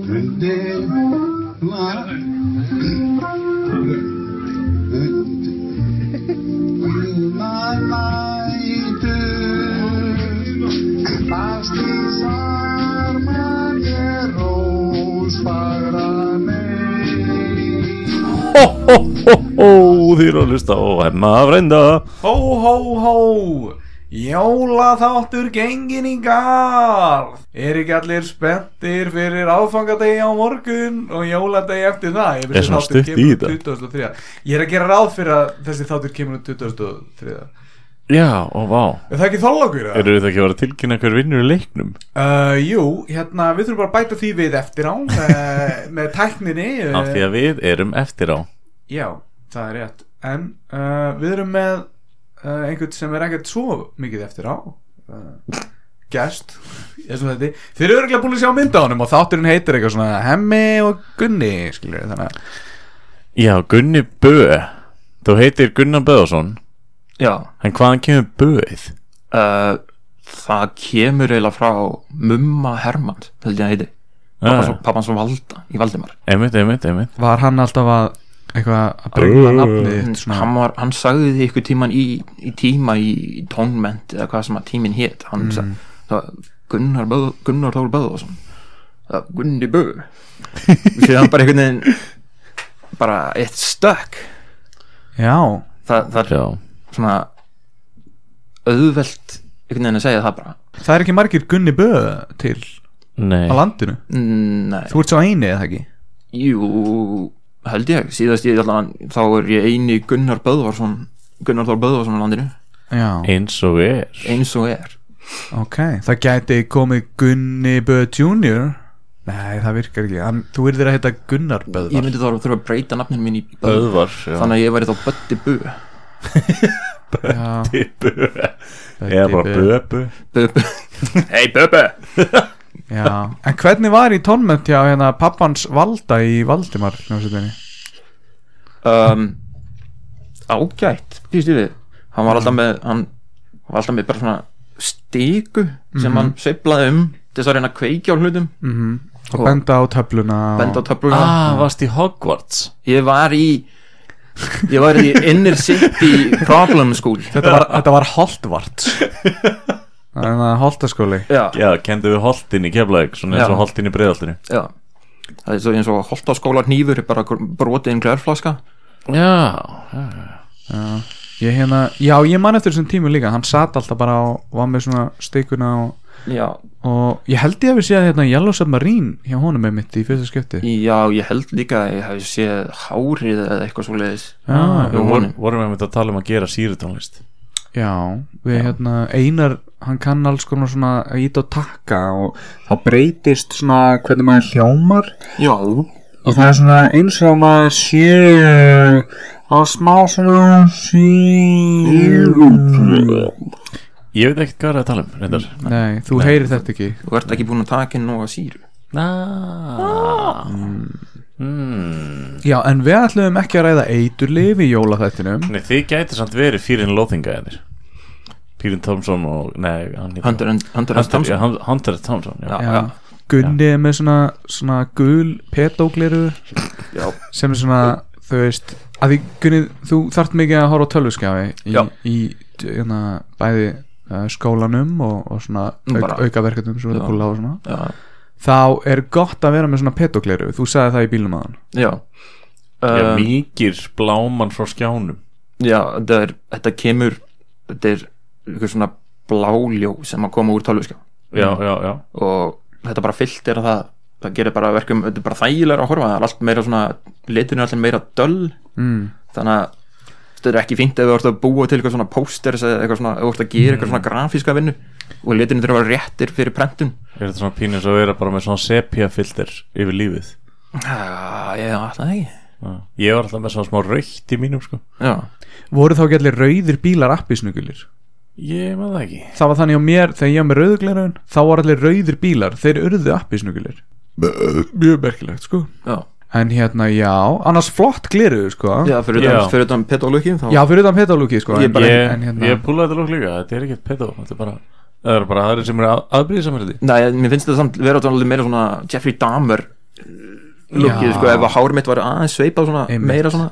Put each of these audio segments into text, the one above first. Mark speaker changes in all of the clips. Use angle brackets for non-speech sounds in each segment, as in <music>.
Speaker 1: 근데 말 my night las armaderos para mí
Speaker 2: Hó, hó, hó, hó, þið eru að hlusta og hemma að frænda
Speaker 3: Hó, hó, hó, jólaþáttur gengin í garð. Er ekki allir spenntir fyrir áfangadegi á morgun og jóladegi eftir það? Ég
Speaker 2: Er svona stutt í
Speaker 3: um
Speaker 2: þetta?
Speaker 3: 23. Ég er að gera ráð fyrir að þessi þáttur kemur um 23.
Speaker 2: Já, og vá
Speaker 3: Er það ekki þólogur það?
Speaker 2: Eru þið ekki að vera að tilkynna hver vinnur í leiknum?
Speaker 3: Uh, jú, hérna, við þurfum bara að bæta því við eftir á uh,
Speaker 2: <laughs>
Speaker 3: með tækninni. Uh,
Speaker 2: Af því að við erum eftir á
Speaker 3: Já, það er rétt. En uh, við erum með uh, einhvern sem er ekkert svo mikið eftir á. Uh, gest, <laughs> eins og þetta. Þeir eru örgulega búin að sjá mynda á honum og þátturinn heitir eitthvað svona Hemmi og Gunni, skilur við þannig. að-
Speaker 2: Já, Gunni Bö Þú heitir Gunnar Böðarsson
Speaker 4: Já,
Speaker 2: En hvaðan kemur Böið?
Speaker 4: uh, það kemur eiginlega frá Mumma Hermann, held ég að heiti Pappan svo,
Speaker 2: Ah,
Speaker 4: pappan svo valda í Valdimar
Speaker 2: einmitt, einmitt, einmitt
Speaker 3: Var hann alltaf að eitthvað
Speaker 2: Ah.
Speaker 3: að brengla nafnið þitt svona?
Speaker 4: sko, hann, var, hann sagði því ykkur tíman í, í tíma í tónment eða hvað sem að tíminn hét hann sagði það, Gunnar, Böð, Gunnar Þór Böðvarsson það, Gunni Bö síðan bara einhvern veginn bara eitt stökk
Speaker 3: Já,
Speaker 4: það, það er
Speaker 2: Já,
Speaker 4: svona auðvelt einhvern veginn að segja það bara
Speaker 3: það er ekki margir Gunni Böð til
Speaker 2: nei
Speaker 3: á landinu.
Speaker 4: nei
Speaker 3: Þú ert svo eini eða ekki?
Speaker 4: Jú, held ég síðast ég allan, þá er ég eini Gunnar Böðvarsson Gunnar Þór Böðvarsson á landinu
Speaker 3: Já,
Speaker 2: Eins og er
Speaker 4: eins og er
Speaker 3: ok. Það gæti komið Gunni Böð Junior. Nei, það virkar ekki. Hann, þú yrðir að heita Gunnar Böðvar.
Speaker 4: ég myndi þá að þurfa að breyta nafninu mín í Böðvar
Speaker 2: Böðvars,
Speaker 4: þannig að ég væri þá Böddi Bö
Speaker 3: Já,
Speaker 2: Bö Eða bara Bö Bö
Speaker 4: Böbö Hei Böbö
Speaker 2: <laughs>
Speaker 3: Já, en hvernig var í tónmönt hjá hérna pappans valda í Valdimar hljómsveitinni?
Speaker 4: um, Ágætt, býst ég við hann var alltaf með hann var alltaf með bara svona stíku sem hann sveiflaði um til þess að reyna að kveikja á hlutum
Speaker 3: Mm -hmm. Og
Speaker 4: Og-
Speaker 3: benda á töfluna
Speaker 4: benda á
Speaker 3: og...
Speaker 4: töfluna
Speaker 2: Ah, varst í Hogwarts
Speaker 4: ég var í ég var í inner city problem school
Speaker 3: Þetta var, þetta var
Speaker 4: <laughs>
Speaker 3: holdvart Þannig að holdaskóli
Speaker 4: já,
Speaker 2: Já, kendu við Holtin í Keflæk Svona eins
Speaker 4: Já.
Speaker 2: og Holtin í Breiðaltinu
Speaker 4: já það er svo eins og holtaskóla nýfur bara brotiðin glærflaska
Speaker 2: Já,
Speaker 3: Ég hérna, já ég man eftir þessum tímum líka Hann sat alltaf bara og var með svona stikuna og,
Speaker 4: já,
Speaker 3: og ég held ég að við séð hérna Yellow Submarine hjá honum með mitt í fyrsta skipti
Speaker 4: já ég held líka að ég hef séð hárið eða eitthvað svo leiðis
Speaker 3: Já,
Speaker 2: Við
Speaker 4: Jú,
Speaker 2: vorum,
Speaker 4: honum.
Speaker 2: vorum einmitt að tala um að gera sírutónlist
Speaker 3: Já, við hérna einar hann kann alls konar svona að íta og takka og þá breytist svona hvernig maður hljómar
Speaker 4: já,
Speaker 3: og það er svona eins og maður sé á smá svona Nei,
Speaker 2: Ég veit ekkert hvað er að tala um, reyndar
Speaker 3: þú heyrir þetta ekki
Speaker 4: þú ert ekki búin að taka inn nóga síru
Speaker 2: Mm. ah. Mm.
Speaker 3: Já, en við ætlum ekki að ræða eiturlif í jólaþættinum
Speaker 2: Nei, þið gæti samt verið Fýrin Lóþinga eðir Fýrin Thompson og, nei, hann hét-
Speaker 4: Hunter and Hunter and
Speaker 2: Hunter,
Speaker 4: Thompson
Speaker 2: já, Hun- Hunter S. Thompson já.
Speaker 4: Já.
Speaker 3: Já, Gunni er með svona, svona gul petógliru
Speaker 4: já,
Speaker 3: sem er svona, þú veist að því, Gunni, þú þart mikið að horfa á tölvuskjafi í,
Speaker 4: Já.
Speaker 3: í hérna, bæði uh, skólanum og, og svona
Speaker 4: Nú
Speaker 3: auk,
Speaker 4: bara.
Speaker 3: aukaverkefnum sem þú ert að
Speaker 4: Já.
Speaker 3: púla á og svona
Speaker 4: já,
Speaker 3: þá er gott að vera með svona petokleru þú sagði það í bílum aðan
Speaker 4: já.
Speaker 2: Já,
Speaker 4: Um,
Speaker 2: Mýkir bláman frá skjánum
Speaker 4: já þetta, er, þetta kemur þetta er eitthvað svona bláljó sem að koma úr tölvuskjá
Speaker 2: Já, já, já
Speaker 4: og þetta bara fyllt er að það það gerir bara verkum, þetta er bara þægilega að horfa það er allt meira svona, litinu er allir meira döll
Speaker 3: mm.
Speaker 4: þannig að þetta er ekki fínt ef þú ert að búa til eitthvað svona pósters eða eitthvað svona, ef þú ert að gera eitthvað svona grafíska vinnu og litinu þurfa að vera réttir fyrir prentun
Speaker 2: Er þetta svona pínins að vera bara með svona sepia-filter yfir lífið
Speaker 4: Já, ég ætla það ekki
Speaker 2: Já. Ég var alltaf með svona smá raukt í mínum, sko
Speaker 4: Já,
Speaker 3: voru þá ekki allir rauðir bílar appisnugulir
Speaker 2: Ég maður það ekki
Speaker 3: það var þannig á mér, þegar ég var með rauðuglerun þá var allir rauðir bílar, þeir urðu appisnugulir mjög merkilegt sko
Speaker 4: já,
Speaker 3: en hérna já, annars flott gleru sko
Speaker 4: já fyrir
Speaker 2: Já.
Speaker 4: utan, fyrir utan petólöki þá
Speaker 3: Já, fyrir utan petalúki sko
Speaker 4: Ég
Speaker 3: en,
Speaker 4: bara-
Speaker 3: en
Speaker 2: Ég,
Speaker 3: hérna,
Speaker 2: ég púlaði þetta lók líka, þetta er ekkert pedo Þetta er bara Það eru bara aðrir sem eru að, aðbrýðisamhældi
Speaker 4: Nei, mér finnst þetta samt vera þetta alveg meira svona Jeffrey Dahmer lukkið,
Speaker 3: Já.
Speaker 4: sko, ef að hár mitt var aðeins sveipað svona,
Speaker 3: Einmitt.
Speaker 4: meira svona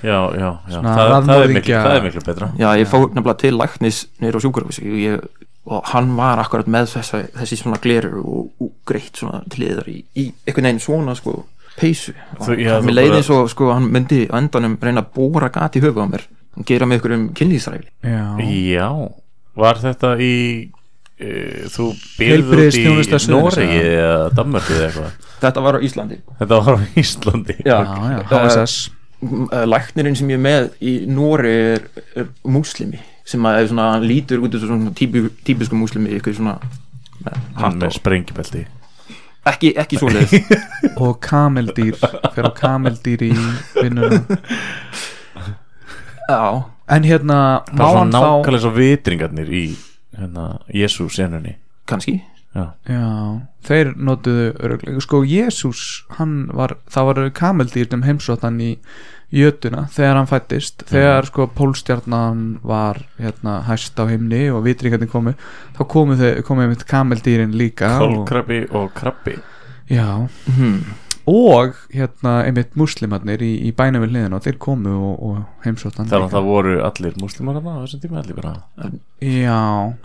Speaker 2: Já, já, já
Speaker 3: Svona
Speaker 2: það, það, er miklu,
Speaker 3: raðmorðingja-
Speaker 2: það er miklu betra
Speaker 4: Já, ég fór nefnilega til læknis neyra á sjúkurhús og, ég- og hann var akkurat með þessa, þessi svona glerur og, og greitt svona til liðar í, í einhvern veginn svona sko peysu og
Speaker 2: Þú- já,
Speaker 4: hann-
Speaker 2: þú
Speaker 4: mér leiði
Speaker 2: bara-
Speaker 4: eins og sko hann myndi á endanum reyna að bóra gat í höfu á mér og gera með ykkur um kynlýsræfi
Speaker 3: Já,
Speaker 2: Já, var þetta í uh, Þú byrðu út í
Speaker 3: Heilbrigðisþjónusta Suðurnesja.
Speaker 2: Noregi eða Danmörku eða eitthvað
Speaker 4: Þetta var á Íslandi
Speaker 2: Þetta var á Íslandi
Speaker 3: já, já, HSS
Speaker 4: m- eh, læknirinn sem ég er með í Nóri er, er múslimi sem að er svona, hann lítur út eins og svona típu, típisku múslimi ykkur svona með hatt
Speaker 2: Hann
Speaker 4: og
Speaker 2: með sprengjubelti
Speaker 4: ekki, ekki svoleiðis
Speaker 2: <laughs>
Speaker 3: og kameldýr fyrir á kameldýr í vinnuna
Speaker 4: já,
Speaker 3: en hérna, má
Speaker 2: Það var
Speaker 3: hann
Speaker 2: svona
Speaker 3: þá
Speaker 2: nákvæmlega svo vitringarnir í hérna, Jésu senunni
Speaker 4: kannski
Speaker 3: já, þeir notuðu öruglega, sko Jésús hann var, það var kameldýr sem heimsótt hann í jötuna þegar hann fættist, þegar sko pólstjarnan var hérna hæst á himni og vitringarnir komu þá komu þau, komu einmitt kameldýrin líka og,
Speaker 2: Kólkrabbi og krabbi
Speaker 3: já,
Speaker 4: hmm.
Speaker 3: og hérna einmitt muslimarnir í, í bænum við hliðina og þeir komu og, og heimsótt hann
Speaker 2: Þannig að
Speaker 3: líka.
Speaker 2: það voru allir múslimar þarna á þessum tíma allir bara
Speaker 3: já,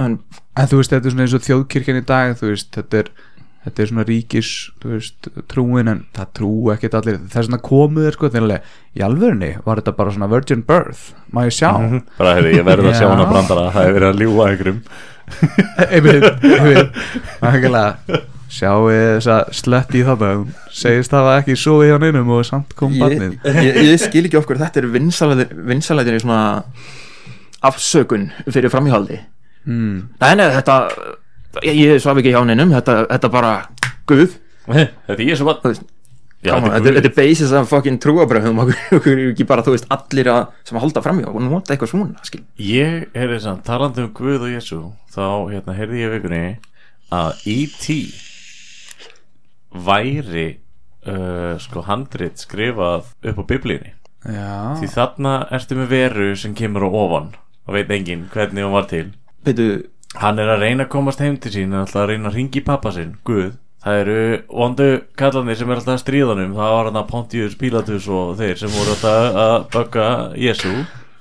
Speaker 4: en
Speaker 3: en þú veist þetta er svona eins og þjóðkirkjan í dag þú veist þetta er þetta er svona ríkis þú veist, trúin en það trú ekkert allir það er svona komuð er sko þeir alveg í alvörunni var þetta bara svona virgin birth má ég sjá
Speaker 2: Mhm. bara hefði ég verið að sjá
Speaker 3: Já.
Speaker 2: hana brandara það hefði verið að ljúga einhverjum
Speaker 3: <laughs> einmitt einmitt nákvæmlega sjáu þessa slett í það segist það var ekki svo í hann einum og samt kom barnið
Speaker 4: ég, ég, ég skil ekki okkur þetta er vinsalæðinni svona afsökun fyrir framhjóhaldi
Speaker 3: mm.
Speaker 4: nei, nei, þetta ég, ég svaf ekki hjá neinum, þetta, þetta bara guð,
Speaker 2: þetta er ég sem að
Speaker 4: þú veist Kama, þetta, er- þetta er basis af fucking trúabröðum okkur, <laughs> okkur er ekki bara, þú veist, allir að, sem að halda framjá og nota eitthvað svona skil.
Speaker 2: Ég heyrði sann, talandi um Guð og Jésu þá hérna heyrði ég í vikunni að E.T. væri uh, sko handrit skrifað upp á biblíunni
Speaker 3: já
Speaker 2: því þarna ertu með veru sem kemur á ofan og veit enginn hvernig hún var til
Speaker 4: Veitu,
Speaker 2: Hann er að reyna að komast heim til sín alltaf að reyna að ringi pappa sinn, Guð Það eru vondu kallanir sem er alltaf að stríðanum Það var hann að Pontius Pilatus og þeir sem voru alltaf að bögga Jésu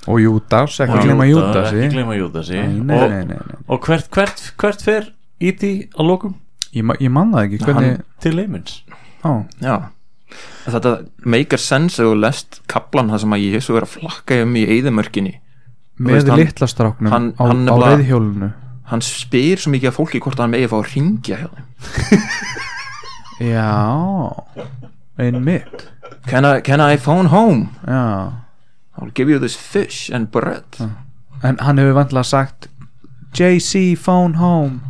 Speaker 3: og Júdas, ekki glema Júdas
Speaker 2: Ekki gleyma Júdasi
Speaker 3: nei,
Speaker 2: Og-
Speaker 3: nei, nei, nei.
Speaker 2: Og hvert, hvert, hvert fer E.T. að lokum
Speaker 3: Ég, ma- ég man það ekki hvernig
Speaker 2: til heimins?
Speaker 3: hann,
Speaker 4: já þetta maker sense ef þú lest kaplan það sem að Jésu er að flakka um í eyðimörkinni
Speaker 3: með
Speaker 4: veist, hann-
Speaker 3: litla stráknum
Speaker 4: hann-
Speaker 3: á, á
Speaker 4: hann nefnilega-
Speaker 3: reyðhjólinu
Speaker 4: hann spyr svo mikið að fólki hvort hann megi að fá að ringja hjá þeim
Speaker 3: já einmitt
Speaker 4: can I, can I phone home?
Speaker 3: já.
Speaker 4: I'll give you this fish and bread
Speaker 3: Ah. en hann hefur vantilega sagt JC phone home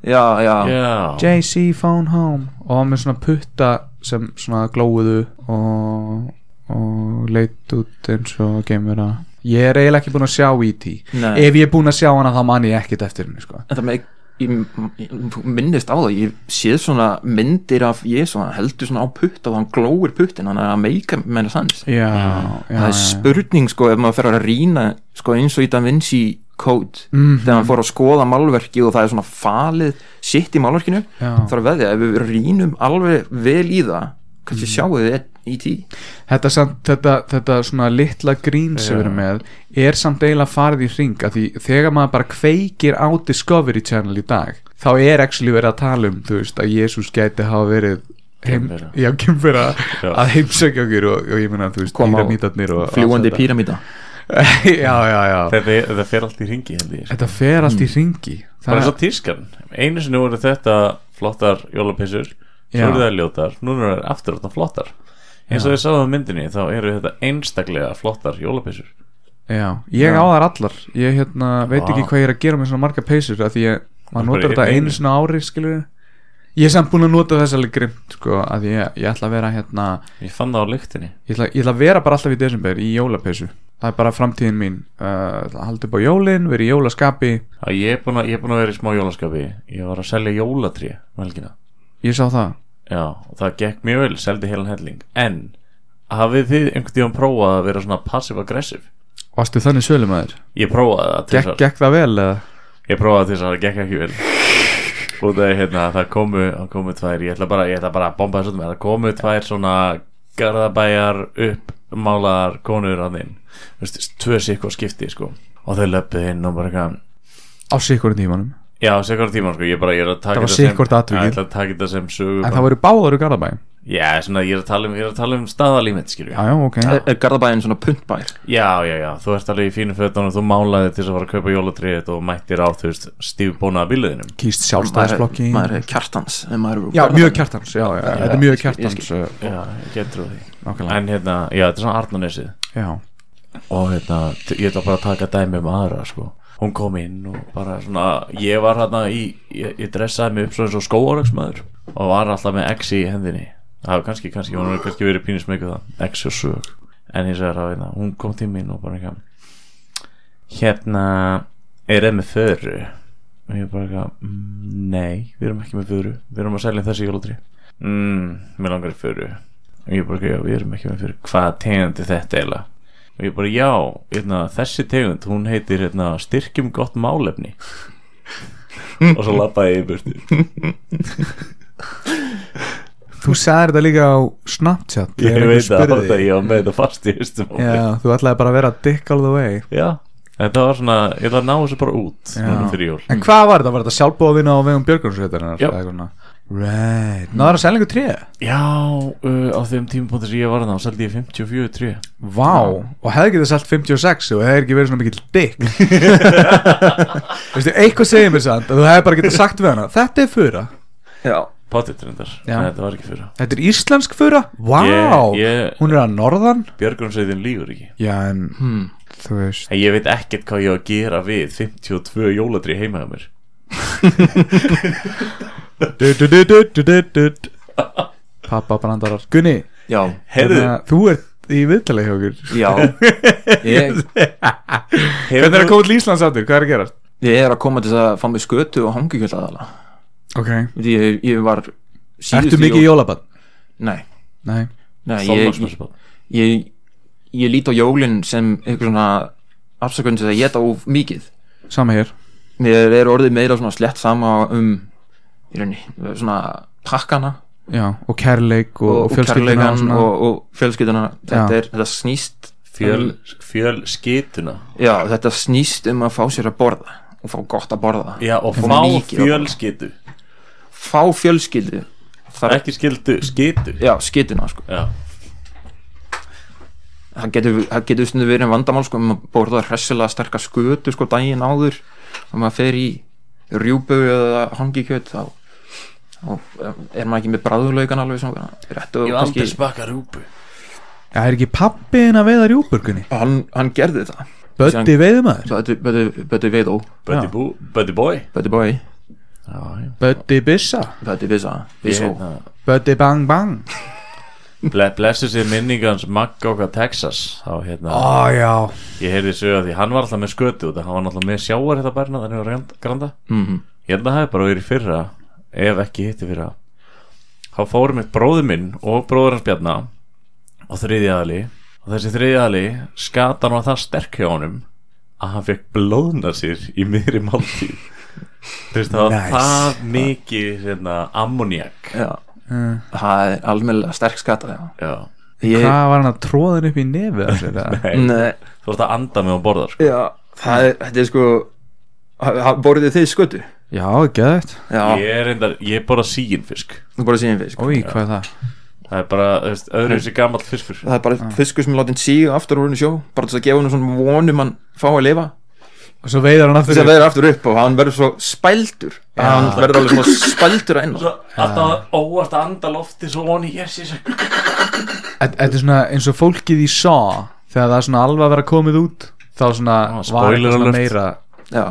Speaker 4: já, já,
Speaker 2: Já,
Speaker 3: JC phone home og hann með svona putta sem svona glóðu og, og leit út eins og geimvera ég er eiginlega ekki búinn að sjá E.T.
Speaker 4: Nei.
Speaker 3: ef ég er búinn að sjá hana þá man ég ekkert eftir henni sko.
Speaker 4: en það með ég ég minnist á það, ég séð svona myndir af Jésu, hann heldur svona á putt og hann glóir puttin, hann er að meika meina sans
Speaker 3: já, já,
Speaker 4: það er
Speaker 3: já,
Speaker 4: spurning sko ef maður fer að rýna sko eins og í Da Vinci Code
Speaker 3: Mhm.
Speaker 4: þegar maður fór að skoða málverki og það er svona falið sitt í málverkinu
Speaker 3: já.
Speaker 4: þarf að veðja, ef við rýnum alveg vel í það kannski
Speaker 3: Mhm.
Speaker 4: sjáu þið í tí
Speaker 3: þetta, samt, þetta, þetta svona litla grín sem við erum með er samt eiginlega farið í hring af því þegar maður bara kveikir á Discovery Channel í dag þá er actually verið að tala um þú veist að Jésús gæti hafa verið heim,
Speaker 2: Geimvera.
Speaker 3: já, kemfera
Speaker 2: Já.
Speaker 3: að heimsækja okkur og, og ég meina þú veist
Speaker 4: Kom á
Speaker 3: píramítarnir og allt
Speaker 4: fljúandi
Speaker 3: þetta.
Speaker 4: píramíta
Speaker 3: <laughs> já, já, já
Speaker 2: þetta þetta fer allt í ringi held ég
Speaker 3: þetta fer allt í hringi
Speaker 2: Bara eins og tískan Einu sinni voru þetta flottar jólapissur Svo
Speaker 3: Já.
Speaker 2: eru það ljótar, núna eru það aftur þarna flottar Eins og þið sáðu á myndinni þá eru þetta einstaklega flottar jólapissur
Speaker 3: já, ég á þar allar ég hérna, veit ekki
Speaker 2: Vá.
Speaker 3: hvað ég er að gera með svona marga peysur af því ég, maður
Speaker 2: Bara í
Speaker 3: notar þetta
Speaker 2: einu.
Speaker 3: einu svona ári skilur ég er samt búin að nota þess alveg grimt sko, að ég, ég ætla að vera hérna
Speaker 2: Ég fann það á lyktinni
Speaker 3: ég ætla, ég ætla að vera bara alltaf í desember í jólapeysu það er bara framtíðin mín uh, haldi upp á jólin, vera í jólaskapi
Speaker 2: að Ég er búin að, ég er búin að vera í smá jólaskapi Ég var að selja jólatré um helgina
Speaker 3: ég sá það
Speaker 2: Já, og það gekk mjög vel, seldi heilan helling En, hafið þið einhvern tíðan prófað að vera svona passive-aggressive?
Speaker 3: varstu þannig sölumæður,
Speaker 2: Ég prófaði það
Speaker 3: gekk,
Speaker 2: tvisvar.
Speaker 3: gekk það vel eða?
Speaker 2: Ég prófaði þess að það gekk ekki vel Og það, hérna, það komu, það komu tvær Ég ætla bara, ég ætla bara að bomba þessu með Það komu tvær svona garðabæjar uppmálaðar konur að þinn Vist, Tvö sikk og skipti sko Og þau löppuð inn og bara eitthvað
Speaker 3: á sikkur tímanum
Speaker 2: Já, sikkur tíma sko, ég bara, ég er að taka
Speaker 3: Það var
Speaker 2: þetta sem-
Speaker 3: sitthvort atvikið.
Speaker 2: Já, Ég ætla að taka þetta sem sögu
Speaker 3: en
Speaker 2: bara.
Speaker 3: það voru báðar úr Garðabæ
Speaker 2: Já, svona, ég er að tala um, ég er að tala um staðalímet skilju
Speaker 3: já, já, ok
Speaker 4: Er, er Garðabæinn svona puntbær?
Speaker 2: Já, já, já, þú ert alveg í fínu fötunum þú málaði til þess að fara að kaupa jólatriðið og mættir á, þú veist, stífbónaða bíliðinum
Speaker 3: kýst
Speaker 4: Maður
Speaker 3: sjálfstæðisflokki
Speaker 4: er- maður er kjartans ef maður er úr
Speaker 3: já,
Speaker 4: Garðabæ.
Speaker 3: mjög kjartans, já, já, þetta er mjög kjartans uh,
Speaker 2: Já, ég getur því
Speaker 3: nákvæmlega.
Speaker 2: En hérna, já, þetta er svona Arnanesið
Speaker 3: já,
Speaker 2: og hérna, t- ég ætla bara að taka dæmi um aðra, sko Hún kom inn og bara svona, ég var hérna í, ég, ég dressaði mig upp svona eins og skóaraksmaður og var alltaf með exi í hendinni Það var kannski, kannski, hún hefur kannski verið pínus með það, exi og sög En ég sagði hérna, hún kom til mín og bara hérna Hérna, er það með föru? Og ég bara eitthvað, "Mm, nei, við erum ekki með föru Við erum að selja þessi jólatri mm, Mér langar í föru Og ég bara, já, við erum ekki með föru Hvað tegandi þetta eiginlega? og ég bara já, hérna, þessi tegund hún heitir hérna, styrkjum gott málefni og svo lappaði ég í
Speaker 3: <laughs>
Speaker 2: burtu
Speaker 3: þú sagði þetta líka á Snapchat
Speaker 2: ég
Speaker 3: þegar einhver
Speaker 2: veit að
Speaker 3: spurði
Speaker 2: þetta
Speaker 3: þig.
Speaker 2: ég var með þetta fast í hustum á mér.
Speaker 3: já, þú ætlaði bara að vera dick all the way
Speaker 2: já, þetta var svona ég ætla að ná þessu bara út
Speaker 3: Já.
Speaker 2: núna fyrir jól
Speaker 3: en hvað var þetta, var þetta sjálfbóðvinna á vegum Björgunarsveitarinnar
Speaker 2: Já.
Speaker 3: right, náður að selja einhver tré
Speaker 2: já, uh, á þeim tímapunktum sem ég var þarna þá seldi ég 54 tré
Speaker 3: Vá, og hefði getið sælt 56 og hefði ekki verið svona mikill
Speaker 2: <laughs>
Speaker 3: dick Veistu, eitthvað segir mér samt að þú hefði bara getið sagt við hana Þetta er fura,
Speaker 4: Já.
Speaker 2: potið reyndar,
Speaker 3: Já.
Speaker 2: en þetta var ekki fyrir
Speaker 3: þetta er íslensk fura Vá,
Speaker 2: Ég- ég-
Speaker 3: hún er að norðan
Speaker 2: björgunsveitin lígur ekki
Speaker 3: Já, en
Speaker 4: Hmm.
Speaker 3: þú veist
Speaker 2: en ég veit ekkert hvað ég á að gera við 52 jólatri heima hjá mér
Speaker 3: du, du, du, du, du, du, du. Pappa brandarar Gunni,
Speaker 4: Já,
Speaker 2: heyrðu,
Speaker 3: hérna, þú ert í viðtalið hjá okkur
Speaker 4: já
Speaker 3: <laughs>
Speaker 4: ég,
Speaker 3: Hérna, Hvernig er
Speaker 2: hefur
Speaker 3: að koma til Íslands aftur, hvað er að gerast?
Speaker 4: ég er að koma til þess að fá mig skötu og hangikjöld aðala
Speaker 3: Ok,
Speaker 4: ég, ég var síðustu
Speaker 3: ertu mikið í
Speaker 4: jól-
Speaker 3: jólabann?
Speaker 4: Nei,
Speaker 3: Nei
Speaker 4: nei ég, ég,
Speaker 2: Þorláksmessubarn.
Speaker 4: ég, ég lít á jólin sem eitthvað svona afsakun sem það geta of mikið
Speaker 3: Sama hér
Speaker 4: mér er orðið meira svona slett sama um í rauninni, svona pakkana
Speaker 3: Já, og kærleik og, og,
Speaker 4: og, og
Speaker 3: fjölskylduna
Speaker 4: kærleikan
Speaker 3: svona.
Speaker 4: og, og fjölskylduna þetta,
Speaker 3: Já.
Speaker 4: er, þetta snýst um
Speaker 2: fjöl, fjöl skituna
Speaker 4: já, þetta snýst um að fá sér að borða og fá gott að borða
Speaker 2: Já, og
Speaker 4: Og
Speaker 2: fá
Speaker 4: mikið að borða.
Speaker 2: fjölskytu
Speaker 4: fá fjölskyldu þar,
Speaker 2: Ekki skildu, skytu
Speaker 4: já, skytuna sko.
Speaker 2: Já,
Speaker 4: það getur, það getur stundu verið en vandamál sko, maður borða hressilega sterka skötu sko, daginn áður og maður fer í rjúbu eða hangikjöt þá og er maður ekki með bræðulaukan alveg sem réttu og
Speaker 2: ég var aldrei
Speaker 4: kannski
Speaker 2: spaka rúpu
Speaker 3: Það er ekki pappiðin að veiða rjúburgunni
Speaker 4: hann, hann gerði það
Speaker 3: Böddi veiðumæður
Speaker 4: Bötti Veidó,
Speaker 2: Buddy,
Speaker 3: Já.
Speaker 2: bú, buddy boy
Speaker 4: Bötti Bói
Speaker 2: Já, já
Speaker 3: Böddi Bissa
Speaker 4: Bötti Visa
Speaker 2: Ég
Speaker 4: Visó
Speaker 2: hérna,
Speaker 3: Böddi Bang Bang
Speaker 2: ble, blessu sér minningans Magga okkar Texas þá, hérna,
Speaker 3: Ó já
Speaker 2: Ég heyrði sögja því, hann var alltaf með skötu og það hann var alltaf með sjáar hérna bærna þannig var grand- granda
Speaker 4: Mhm.
Speaker 2: Ég held að það hefði bara verið í fyrra ef ekki hitti fyrra þá fórum eitt bróður minn og bróður hans Bjarna og þriði aðli og þessi þriði aðli skatan var það sterk hjá honum að hann fekk blóðna sér í miðri máltíð Þú veist það var
Speaker 3: Nice.
Speaker 2: það mikið hérna, ammoniak
Speaker 4: Já Það er almennilega sterk skata já.
Speaker 2: Já,
Speaker 4: Ég,
Speaker 3: Mm. Hvað var hann að tróða hann upp í nefið <laughs> á sér, eða?
Speaker 2: Nei,
Speaker 4: Nei,
Speaker 2: þú veist að anda með á borðar sko.
Speaker 4: já, það er, þetta er sko ha- ha- Borðið þið skötu
Speaker 3: Já, geðvægt
Speaker 4: Já,
Speaker 2: Ég er reyndar, ég borða sígin fisk
Speaker 4: þú borðið síðan fisk
Speaker 3: Ói, hvað er það?
Speaker 2: Það er bara, þú veist, öðru þessi gamall fiskur
Speaker 4: Það er bara fiskur sem er látið síga aftur úr henni sjó Bara til að gefa henni svona vonum hann fá að lifa
Speaker 3: Og svo veiðar hann aftur
Speaker 4: Þess að verður aftur upp og hann verður svo spældur Hann verður alveg svona spældur að
Speaker 2: Ah.
Speaker 4: innan
Speaker 2: Alltaf óvart að anda lofti svo honi, yes, yes
Speaker 3: Þetta þetta er svona eins og fólkið í Saw Þegar það er svona alveg að vera komið út Þá svona
Speaker 2: Ah,
Speaker 3: var
Speaker 2: spoiler
Speaker 3: eitthvað svona
Speaker 2: alert.
Speaker 3: meira
Speaker 4: Já,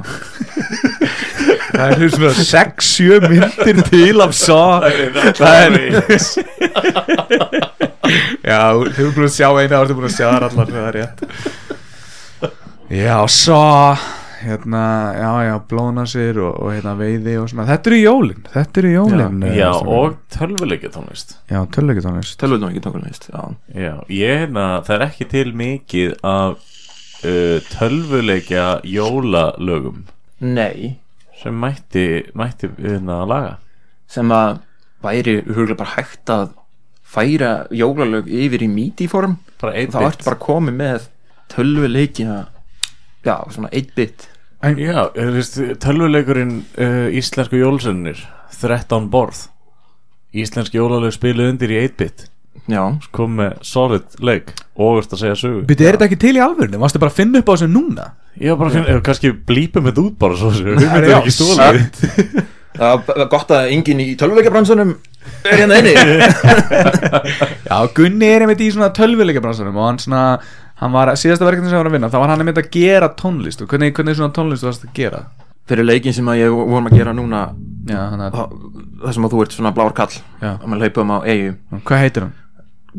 Speaker 3: Það eru svona 6-7 myndir til af Saw
Speaker 2: Það er
Speaker 3: Já, þau eru búin að sjá eina og þú búin að sjá þar allar það er rétt Já, Saw Hérna, já, já, blóna sér og, og hérna veiði og svona Þetta eru jólin, þetta eru jólin eh,
Speaker 2: Já,
Speaker 3: strákar.
Speaker 2: og tölvuleikja tónlist
Speaker 3: Já, tölvöggutónlist
Speaker 4: tölvöldum ekki tókulega veist Já,
Speaker 2: Já, ég hérna, það er ekki til mikið af uh, tölvuleikja jólalögum
Speaker 4: nei
Speaker 2: sem mætti, mætti hérna að laga
Speaker 4: sem að væri huglega bara hægt að færa jólalög yfir í midi form
Speaker 2: bara
Speaker 4: þá ertu
Speaker 2: 8-bit
Speaker 4: bara komið með tölvu leikina já, svona 8-bit
Speaker 2: Já, þú veist, tölvuleikurinn uh, Íslensku jólsennir 13 borð Íslenski jólalög spiluð undir í 8-bit
Speaker 4: já,
Speaker 2: kom með solid leik og veist að segja sögu
Speaker 3: Býttu, er þetta ekki til í alvörinu? Varstu bara að finna upp á þessu
Speaker 2: <laughs>
Speaker 3: núna?
Speaker 2: Ég var bara að finna, ef kannski blípum þetta út bara svo sem við
Speaker 3: já,
Speaker 2: myndum ekki stólið
Speaker 4: það var gott að enginn í tölvuleikabransunum er hérna <laughs> inni
Speaker 3: Já, Gunni er einmitt í svona tölvuleika bransanum og hann svona, hann var, síðasta verkefni sem hann var að vinna, þá var hann einmitt að gera tónlist og hvernig, hvernig svona tónlist varst að gera?
Speaker 4: fyrir leikin sem að ég vorum að gera núna
Speaker 3: Já, hann að,
Speaker 4: þá- það sem að þú ert svona blár kall
Speaker 3: Já.
Speaker 4: og maður leipum á eigu
Speaker 3: hvað heitir hann?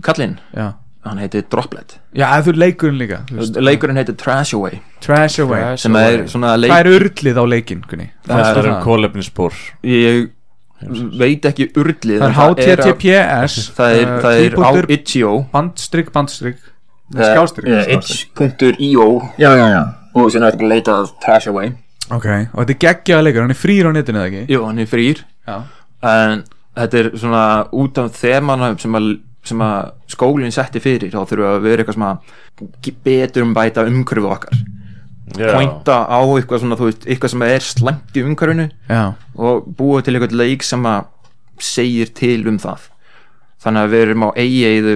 Speaker 4: kallinn,
Speaker 3: Já,
Speaker 4: hann heitir Droplet
Speaker 3: já, eða þú leikurinn líka, þú veist,
Speaker 4: leikurinn heitir Trash Away
Speaker 3: Trash Away,
Speaker 4: sem er svona leik
Speaker 3: hvað er urlið á leikinn, Gunni?
Speaker 2: Það um
Speaker 3: er
Speaker 2: eru
Speaker 3: það.
Speaker 2: kólefnisspor
Speaker 4: ég veit ekki urlið
Speaker 3: Það
Speaker 4: en
Speaker 3: er
Speaker 4: að-
Speaker 3: HTTPS,
Speaker 4: <laughs> það er,
Speaker 3: uh,
Speaker 4: það er á
Speaker 3: tvípunktur,
Speaker 4: itch.io
Speaker 3: bandstrykk, bandstrykk, skástrykk,
Speaker 4: Eh, eh, itch.io já, já, já og síðan er þetta að leita að Trash Away
Speaker 3: ok, og þetta er geggjaða leikur, hann er frýr á netinu eða ekki?
Speaker 4: jú, hann er frýr
Speaker 3: Já,
Speaker 4: en þetta er svona út af þemana sem að, sem að skólinn setti fyrir þá þurfum við að vera eitthvað sem að betur um bæta umhverfið okkar pointa á eitthvað svona, þú veist, eitthvað sem er slæmt í umhverfinu
Speaker 3: já,
Speaker 4: og búa til eitthvað leik sem að segir til um það þannig að við erum á eigiðu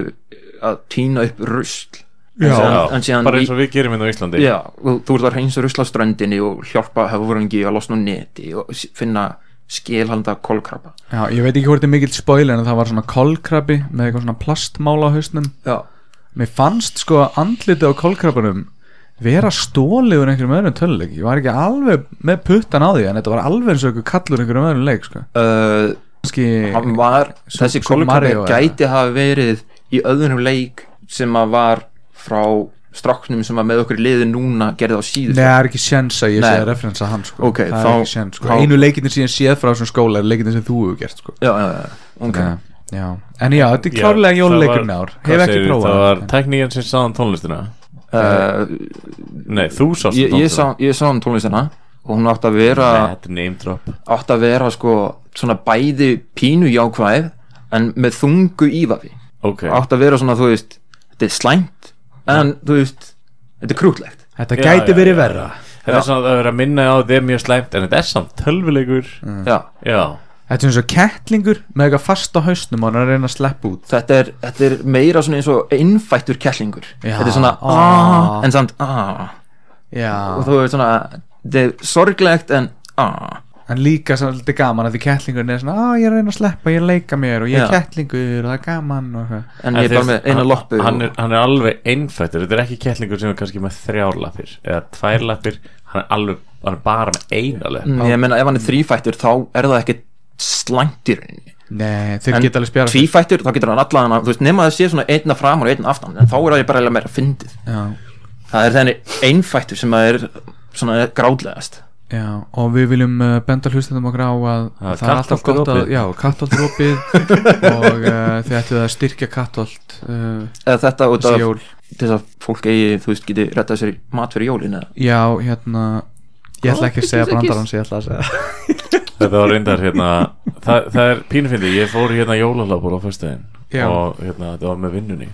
Speaker 4: að týna upp rusl
Speaker 3: Já.
Speaker 4: síðan- en síðan
Speaker 2: bara
Speaker 4: í-
Speaker 2: eins og við gerum hérna á Íslandi
Speaker 4: Já, og þú ert að reynsa rusla á ströndinni og hjálpa höfurangi að losna úr neti og s- finna skilhalda kolkrabba
Speaker 3: já, ég veit ekki hvort þetta er mikill spoiler en það var svona kolkrabi með eitthvað svona plastmála á hausnum
Speaker 4: Já,
Speaker 3: Mér fannst sko að andlitið á kólkrapunum vera stólið úr einhverjum öðrum töluleik ég var ekki alveg með puttan á því en þetta var alveg eins og einhver kallur einhverjum öðrum leik sko.
Speaker 4: uh,
Speaker 3: Kanski,
Speaker 4: hann var
Speaker 3: Sú-
Speaker 4: þessi
Speaker 3: Super
Speaker 4: kolkrabbi
Speaker 3: Mario, eða?
Speaker 4: gæti hafa verið í öðrum leik sem að var frá stráknum sem að með okkur í liði núna gerði á
Speaker 3: Nei,
Speaker 4: síður
Speaker 3: það er ekki séns að ég sé
Speaker 4: Nei.
Speaker 3: að referensa hann sko.
Speaker 4: Ok,
Speaker 3: það
Speaker 4: þá-
Speaker 3: er ekki séns sko.
Speaker 4: þá-
Speaker 3: Einu leikinni sem ég séð frá þessum skóla er leikinni sem þú hefur gert sko.
Speaker 4: Já, já, já, ok
Speaker 3: Nei, já. En já, þetta er klárlega jóluleikurinn ár Hef ekki prófað
Speaker 2: Það var tekníkinn sem sáðan tónlistina
Speaker 4: uh,
Speaker 2: Nei, þú sást um
Speaker 4: ég, ég,
Speaker 2: tónlistina.
Speaker 4: sá, ég sá um tónlistina og hún átti að vera
Speaker 2: Nei, þetta er name drop
Speaker 4: átt að vera sko svona bæði pínu jákvæð en með þungu ívafi
Speaker 2: Ok,
Speaker 4: átt að vera svona þú veist þetta er slæmt en þú veist þetta er krútlegt
Speaker 3: Þetta
Speaker 2: Já,
Speaker 3: gæti
Speaker 2: já,
Speaker 3: verið
Speaker 2: já.
Speaker 3: verra
Speaker 2: þetta er svona að vera að minna á þetta er mjög slæmt en þetta er samt tölvuleikur
Speaker 3: Mm.
Speaker 4: já,
Speaker 2: Já,
Speaker 3: Þetta er eins og kettlingur með eitthvað fast á hausnum og hann er að reyna að sleppa út
Speaker 4: þetta er, þetta er meira svona eins og innfættur kettlingur
Speaker 3: Já.
Speaker 4: þetta er svona
Speaker 3: Ah.
Speaker 4: aaaah en samt aaaah
Speaker 3: Já,
Speaker 4: og þú veist svona þetta er sorglegt en ah. aaaah
Speaker 3: en líka svolítið gaman að því kettlingurinn er svona að ég er að reyna að sleppa, ég er að leika mér og ég er
Speaker 4: Já.
Speaker 3: kettlingur og það er gaman og eitthvað
Speaker 4: en ég er bara með eina loppu
Speaker 2: hann, er- hann er alveg einfættur Þetta er ekki kettlingur sem er kannski með þrjár lappir eða tvær lappir Hann er alveg, hann er bara með eina lapp
Speaker 4: Mm, ég meina ef hann er þrýfættur þá er það ekki slæmt í rauninni
Speaker 3: Nei, þeir
Speaker 4: en
Speaker 3: geta alveg spjara
Speaker 4: tvífættur þá getur hann allan þú veist nema það sé svona einna fram og einna aftan en þá er það bara eiginlega meira fyndið
Speaker 3: já,
Speaker 4: það er þannig einfættur sem að er svona gráðlegast
Speaker 3: já, og við viljum uh, benda hlustendum okkur á að
Speaker 2: Það er
Speaker 3: það er alltaf
Speaker 2: kattholt er
Speaker 3: gott að,
Speaker 2: opið.
Speaker 3: já, kattolt er
Speaker 2: <laughs>
Speaker 3: opið og uh, þið ættu að styrkja kattolt uh,
Speaker 4: eða þetta út
Speaker 3: þessi
Speaker 4: af
Speaker 3: jól
Speaker 4: til þess að fólk eigi þú veist geti rettað sér í mat fyrir jólin eða
Speaker 3: Já, hérna, ég ætla ekki að segja
Speaker 4: Kátholt er
Speaker 3: brandarans, ég ætla að segja
Speaker 2: Þetta var reyndar hérna Það, það er pínfindi, ég fór hérna jólalabur á föstudaginn
Speaker 3: Já.
Speaker 2: og hérna þetta var með vinnunni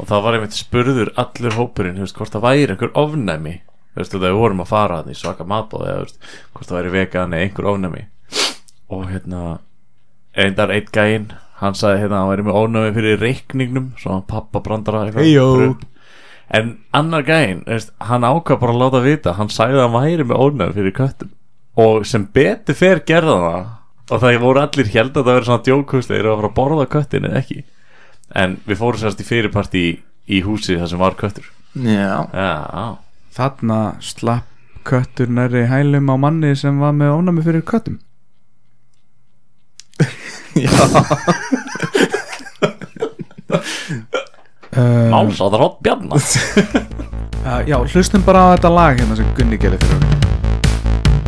Speaker 2: og það var einmitt spurður allur hópurinn þú veist, hvort það væri einhver ofnæmi þú veist, þegar við vorum að fara þannig svaka matbóð eða þú veist, hvort það væri vegan eða einhver ofnæmi og hérna reyndar eitt gæinn hann sagði hérna að hann væri með ofnæmi fyrir reikningnum svona pappa brandara eitthvað.
Speaker 3: Eyjó.
Speaker 2: en annar gæinn þú veist, hann ákvað bara að láta vita hann sagði að hann væri með ofnæmi fyrir köttum og sem betur fer gerða það og það voru allir held að það verið svona djókusleir og að fara að borða köttin eða ekki en við fórum sérst í fyrirparti í, í húsi þar sem var köttur
Speaker 4: já,
Speaker 2: já,
Speaker 3: Þarna slapp köttur nærri hælum á manni sem var með ónami fyrir
Speaker 2: <laughs>
Speaker 3: köttum <laughs> Já
Speaker 2: máls á það rátt bjarna
Speaker 3: Um, Uh, já, hlustum bara á þetta lag hérna sem Gunni gerði fyrir okkur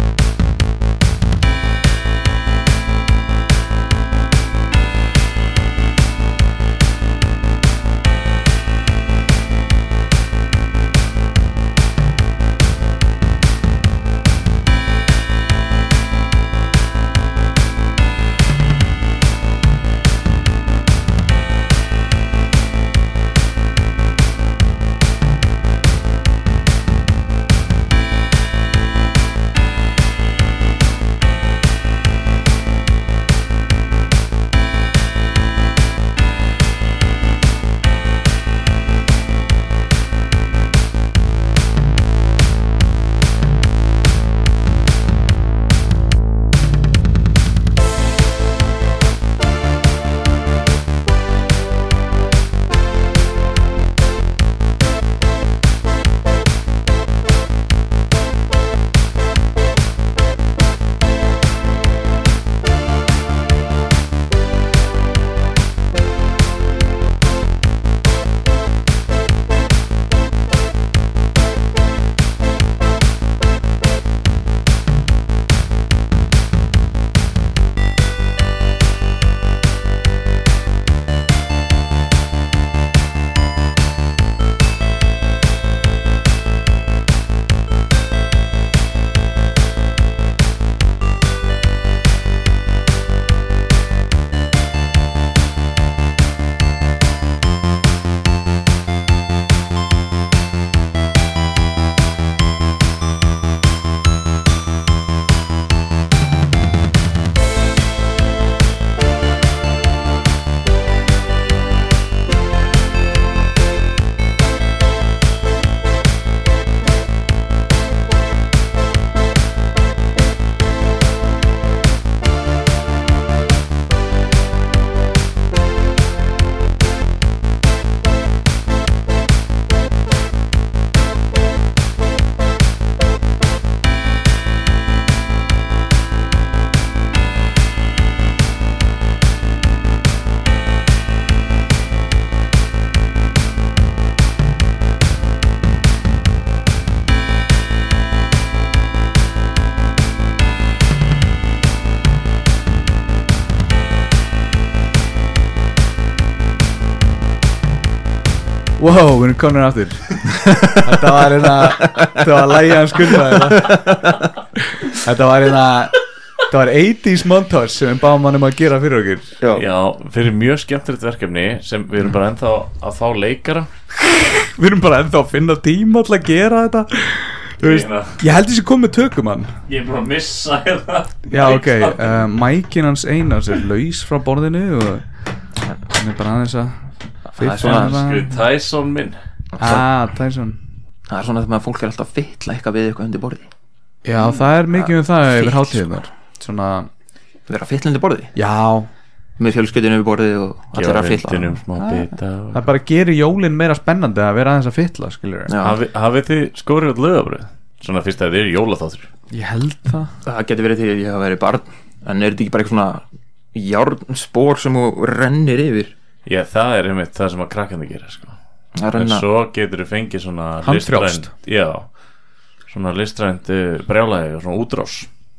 Speaker 3: Wow, við erum komin aftur Þetta var hérna Þetta var lægi hans skulda Þetta var hérna Þetta var 80s montage sem við báum hann um að gera fyrir okkur
Speaker 2: <laughs> Já, fyrir mjög skemmtilegt verkefni sem við erum bara ennþá að fá leikara
Speaker 3: Við erum bara ennþá að finna tíma til að gera þetta Þú veist,
Speaker 2: Hérna.
Speaker 3: Ég held þessi kom með tökum hann
Speaker 2: Ég er bara að missa hérna
Speaker 3: Já, ok, uh, mækin hans Einars er laus frá borðinu og hann er bara aðeins að
Speaker 4: Það er svona-
Speaker 2: Skur Sko, Tyson minn
Speaker 3: Ah, Tyson
Speaker 4: Það er svona þegar maður fólk er alltaf að fytla eitthvað við eitthvað undir borði
Speaker 3: Já, það er mikið um það
Speaker 4: Fíll,
Speaker 3: yfir hátíðunar Svona,
Speaker 4: Vera fytla undir borði
Speaker 3: já,
Speaker 4: Með fjölskyldinu við borði og allir að fytla
Speaker 2: Gjöfundinum smá
Speaker 3: Ah.
Speaker 2: bita og-
Speaker 3: Það bara gerir jólin meira spennandi að vera aðeins að fytla, skiljur
Speaker 4: Já,
Speaker 2: Hafi- Hafið þið skorið út lögabröð? Svona fyrst að þið eru jólaþáttur
Speaker 3: Ég held það
Speaker 4: það getur verið því að ég hafa verið barn En er þetta ekki bara eitthvað svona Járnspor sem þú rennir yfir
Speaker 2: Já, það er einmitt það sem að krakkandi gera sko.
Speaker 4: Að
Speaker 2: En
Speaker 4: renna
Speaker 2: svo getur þið fengið svona
Speaker 3: Handfrjálst.
Speaker 2: listrænt Já, svona listrænt uh, brjálæði og svona útrás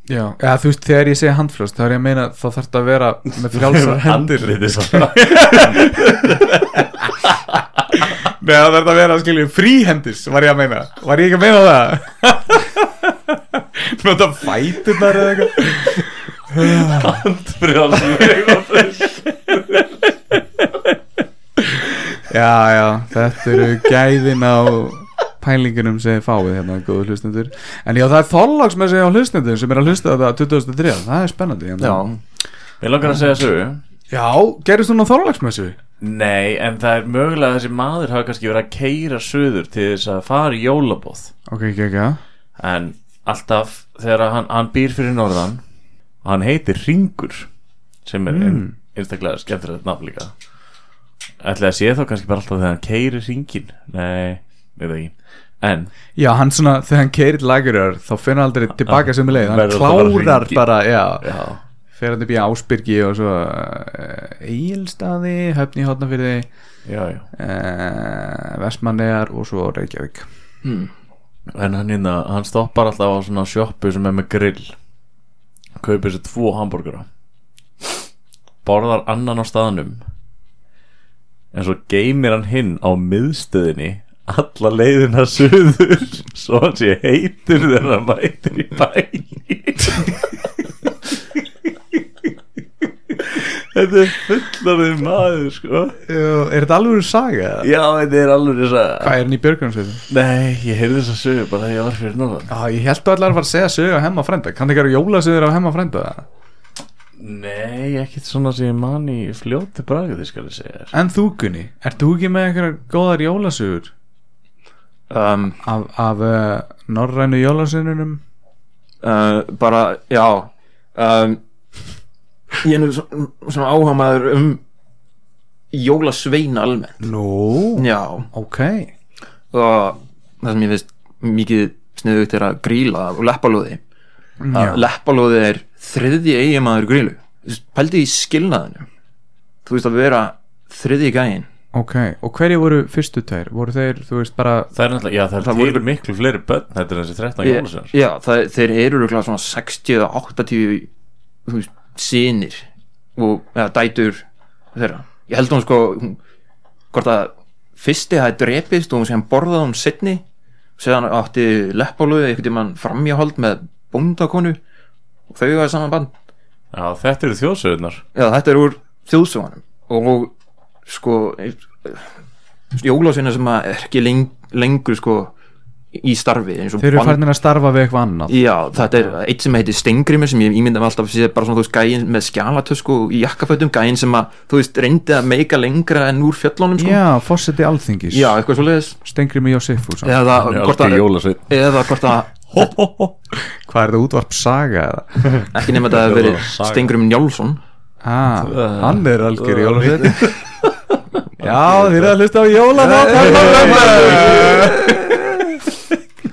Speaker 3: Já, Eða, þú veist, þegar ég segi handfljóst þá er ég að meina þá þarf þetta að vera með frjálsar hendur
Speaker 2: Andlitið svona
Speaker 3: <laughs> Nei, það þarf þetta að vera, skiljur, fríhendis var ég að meina Var ég ekki að meina það? <laughs> Nota fætunar eða eitthvað
Speaker 2: Handfrjálst
Speaker 3: Já, já, þetta eru gæðin á pælingunum sem þið fáið hérna, góðu hlustendur En já, það er þorlagsmessi á hlustendur sem er að hlusta þetta 2003 Það er spennandi hérna.
Speaker 4: Já,
Speaker 2: Mér langar að segja sögu
Speaker 3: já, gerist hún á þorlagsmessu?
Speaker 2: Nei, en það er mögulega að þessi maður hafa kannski verið að keira söður til þess að fara í jólabóð
Speaker 3: Ok, ekki, ekki, já
Speaker 2: En alltaf þegar að hann, hann býr fyrir norðan og hann heitir Ringur sem er mm. einstaklega skemmtilegt nafn líka Ætli að sé þá kannski bara alltaf þegar hann keiri Ringin Nei, við það ekki En
Speaker 3: Já, hann svona, þegar hann keirir lagurar þá finnur hann aldrei tilbaka sem leið hann
Speaker 2: Verður alltaf bara
Speaker 3: klárar
Speaker 2: hringi.
Speaker 3: bara, já
Speaker 2: já,
Speaker 3: fer hann upp í Ásbyrgi og svo uh, Egilstaði, Höfni Hótnafyrði
Speaker 2: já, já
Speaker 3: uh, Vestmannegar og svo Reykjavík
Speaker 2: En hann, inna, hann stoppar alltaf á svona sjoppu sem er með grill Kaupir sér tvo hambúrgara Borðar annan á staðnum En svo geymir hann hinn á miðstöðinni Alla leiðina suður <laughs> Svo hann sé heitur þegar hann mætir í bæin Þetta er fullarðið maður sko
Speaker 3: Jú, Er þetta alveg saga? eða?
Speaker 2: Já, þetta er alveg þess að
Speaker 3: Hvað er hann í Björgunarsveitum?
Speaker 2: Nei, ég heyrði þess að sögur bara þegar ég var fyrir norðan
Speaker 3: Já, ég held að allar að fara að segja sögu á hemma frænda Kann ekki að jóla sögur á hemma frænda
Speaker 2: Nei, ekkert svona sem ég man í fljóti bragði skal ég segja þér.
Speaker 3: En þú Gunni, ert þú ekki með einhverjar góðar jólasögur
Speaker 4: um,
Speaker 3: af, af uh, norrænu jólasögunum?
Speaker 4: uh, bara, já um, ég er nú svo- svona áhamaður um jólasveina almennt
Speaker 3: Nú,
Speaker 4: já,
Speaker 3: ok
Speaker 4: og það sem ég veist mikið sniðugt er að gríla og leppalóði
Speaker 3: Já.
Speaker 4: að leppalóði er þriðji eiginmaður grílu Þú veist, pældi í skilnaðinu þú veist að vera þriðji gæin
Speaker 3: Ok, og hverju voru fyrstu tveir? Voru þeir, þú veist, bara
Speaker 2: Það er náttúrulega, já það er
Speaker 4: Það
Speaker 2: til
Speaker 4: voru-
Speaker 2: miklu fleiri börn Þetta er þessi 13
Speaker 4: Ég-
Speaker 2: jólasveinar
Speaker 4: já, það, þeir eru örugglega svona 60 eða 80 þú veist, sinir og eða, dætur þeirra ég held hún sko hún, hvort að fyrsti hafi drepist og hún sem borðaði hún setni séðan átti leppáluði einhvern tímann framjáhald með bóndakonu og þau hafa saman band
Speaker 2: Já, þetta eru þjóðsöðunar
Speaker 4: já, þetta er úr þjóðsóðanum og sko jólasveina sem að er ekki leng, lengur sko í starfi eins og
Speaker 3: þeir eru
Speaker 4: band-
Speaker 3: farnir að starfa við eitthvað annað
Speaker 4: Já, þetta er eitt sem heitir Steingrimur sem ég ímynda mig alltaf að sé bara svona þú veist gæin með skjálatösku og í jakkafötum gæin sem að þú veist reyndi að meika lengra en úr fjöllunum sko.
Speaker 3: Já, fórseti alþingis
Speaker 4: Já, eitthvað svo leiðis
Speaker 3: Stengri með Jósefússon
Speaker 4: eða hvort að,
Speaker 2: jólasveinn
Speaker 4: eða hvort að
Speaker 3: <laughs> Hvað er það útvarp saga eða?
Speaker 4: ekki nema þetta að veri
Speaker 2: Saga.
Speaker 4: Steingrim Njálsson
Speaker 3: Ah, hann er algjör jólasveinn <laughs> Já, þeir eru að hlusta á
Speaker 4: Nei.
Speaker 3: jólanátt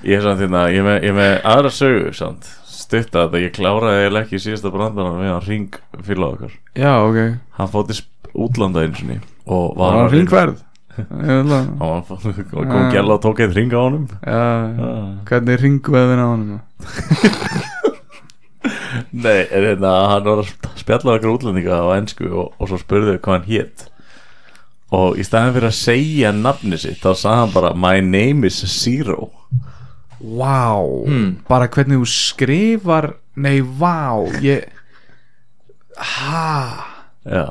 Speaker 2: Ég er samt þérna, ég er með, ég er með aðra sögu samt Stutta þetta, ég kláraði eiginlega ekki í síðasta brandarann Við hann ring fyrir okkar
Speaker 3: Já, ok
Speaker 2: Hann fótti útlanda eins og ný Og
Speaker 3: Það
Speaker 2: var
Speaker 3: var hringverð
Speaker 2: Hann var- <laughs> og
Speaker 4: Ah.
Speaker 2: kom gæla og tók eitt ring á honum
Speaker 3: Já, hvernig er hringveðin á honum?
Speaker 2: Nei, en hérna, hann var að sp- spjalla við okkur útlendinga á ennsku og, og svo spurðu hvað hann hét og í staðan fyrir að segja nafni sitt þá sagði hann bara my name is Zero
Speaker 3: Vá,
Speaker 4: Hmm.
Speaker 3: bara hvernig þú skrifar Nei, vá ég... Ha
Speaker 2: já,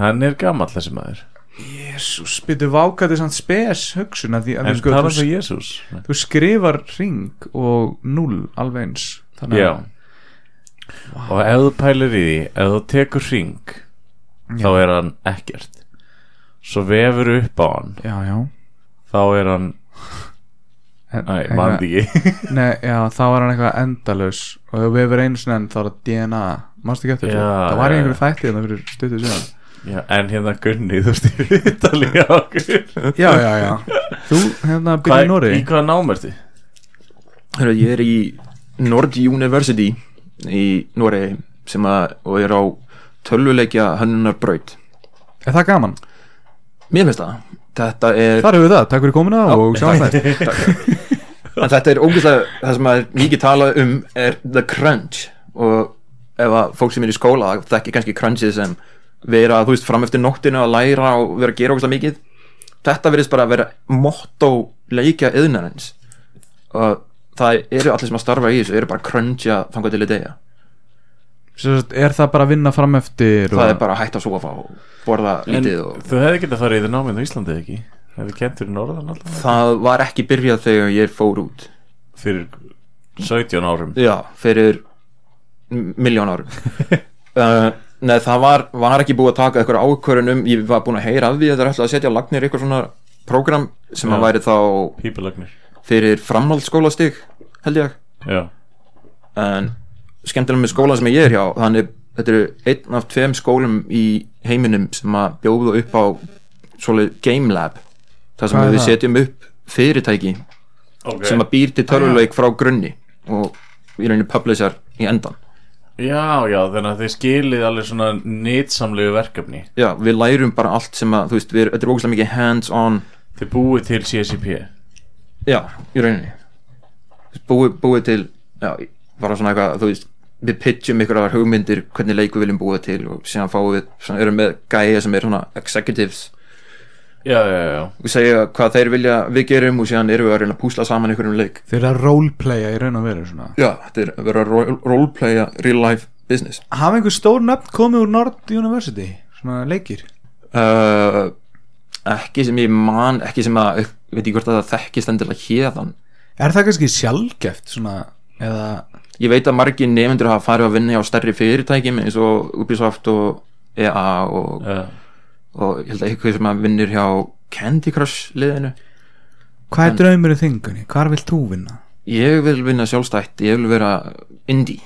Speaker 2: hann er gamall þessi maður
Speaker 3: Jésús, byrju vákæði samt spes hugsun að því að
Speaker 2: en
Speaker 3: þú, sko,
Speaker 2: tala um
Speaker 3: þú,
Speaker 2: það Jésús
Speaker 3: þú skrifar ring og null alveg eins Þannig
Speaker 2: já og ef þú pælir í því ef þú tekur hring þá er hann ekkert svo vefur upp á hann
Speaker 3: Já, já
Speaker 2: þá er hann,
Speaker 3: En-
Speaker 2: næ,
Speaker 3: en-
Speaker 2: mandi ekki <laughs>
Speaker 3: Nei, já, þá var hann eitthvað endalaus og ef við verið einu sinni enn þá er það DNA Manstu ekki eftir þessu?
Speaker 2: Já,
Speaker 3: Það var í
Speaker 2: já,
Speaker 3: einhverju
Speaker 2: já.
Speaker 3: þætti þannig fyrir stuttu síðan
Speaker 2: já, en hérna Gunni, þú veist, í Ítali á okkur
Speaker 3: Já, já, já Þú, hérna, byrja í Nóri
Speaker 2: í hvaða námerti?
Speaker 4: Hörru, ég er í Nord University í Noregi sem að, og er á tölvuleikja hönnunarbraut
Speaker 3: Er það gaman?
Speaker 4: Mér finnst það, þetta er
Speaker 3: Þar hefur við það, takk fyrir komuna og
Speaker 2: <laughs>
Speaker 3: sjáum þetta
Speaker 4: en þetta er ógeðslega, það sem að er mikið talað um er the crunch og ef að fólk sem er í skóla þekki kannski crunchið sem vera, þú veist, fram eftir nóttinu að læra og vera að gera ógeðslega mikið þetta verðist bara að vera motto leikja yðnarins og það eru allir sem að starfa í þessu eru bara að cruncha þangar til í degja
Speaker 3: Sem sagt, Er það bara að vinna fram eftir og...
Speaker 4: það er bara að hætta að sofa og borða
Speaker 2: En
Speaker 4: lítið og
Speaker 2: þú hefði getað farið í það námið á Íslandi ekki? Hefði kentur í Norðan alltaf?
Speaker 4: það var ekki byrjað þegar ég fór út
Speaker 2: Fyrir 17 árum
Speaker 4: já, fyrir m- miljón
Speaker 3: <laughs>
Speaker 4: árum uh, neð það var, var ekki búið að taka eitthvað ákvörunum, ég var búin að heyra af því að það er alltaf að setja á lagnir eitthvað svona program sem
Speaker 2: Já.
Speaker 4: að væri þá
Speaker 2: Pípulagnir
Speaker 4: fyrir framhaldsskólastig held ég,
Speaker 2: Já,
Speaker 4: en skemmtilega með skólan sem ég er hjá, þannig þetta eru einn af tveim skólum í heiminum sem að bjóðu upp á svolítið Game Lab þar sem
Speaker 3: Hvað er
Speaker 4: við
Speaker 3: það? Ah,
Speaker 4: setjum upp fyrirtæki
Speaker 2: ok
Speaker 4: sem að býr til töluleik frá grunni og í rauninni publisher í endan
Speaker 2: Já, já, þannig að þið skilið alveg svona nýtsamlegu verkefni
Speaker 4: já, við lærum bara allt sem að þú veist, við, þetta er ógæslega mikið hands on
Speaker 2: Þið búið til CSIP
Speaker 4: já, í rauninni búið, búið til já, bara svona eitthvað, þú veist við pitchum ykkur aðar hugmyndir, hvernig leik við viljum búa til og síðan fáum við, svona, erum með gæja sem er svona executives
Speaker 2: Já, já, já,
Speaker 4: og segja hvað þeir vilja við gerum og síðan erum við að reyna að púsla saman ykkur um leik
Speaker 3: Þeir eru að roleplaya í raun og veru svona
Speaker 4: já, þetta er að vera að ro- roleplaya real life business
Speaker 3: Hafa einhver stór nöfn komið úr Nord University Svona leikir
Speaker 4: uh, ekki sem ég man ekki sem að, veit ekki hvort að það þekkist endilega hérðan,
Speaker 3: Er það kannski sjálfgeft svona eða
Speaker 4: ég veit að margir nefndur hafa farið að vinna á stærri fyrirtækjum eins og Ubisoft og EA og,
Speaker 2: já.
Speaker 4: og ég held að eitthvað sem að vinnur hjá Candy Crush liðinu
Speaker 3: Hvað er draumurinn þingunni? Hvar vilt þú vinna?
Speaker 4: ég vil vinna sjálfstætt, ég vil vera indie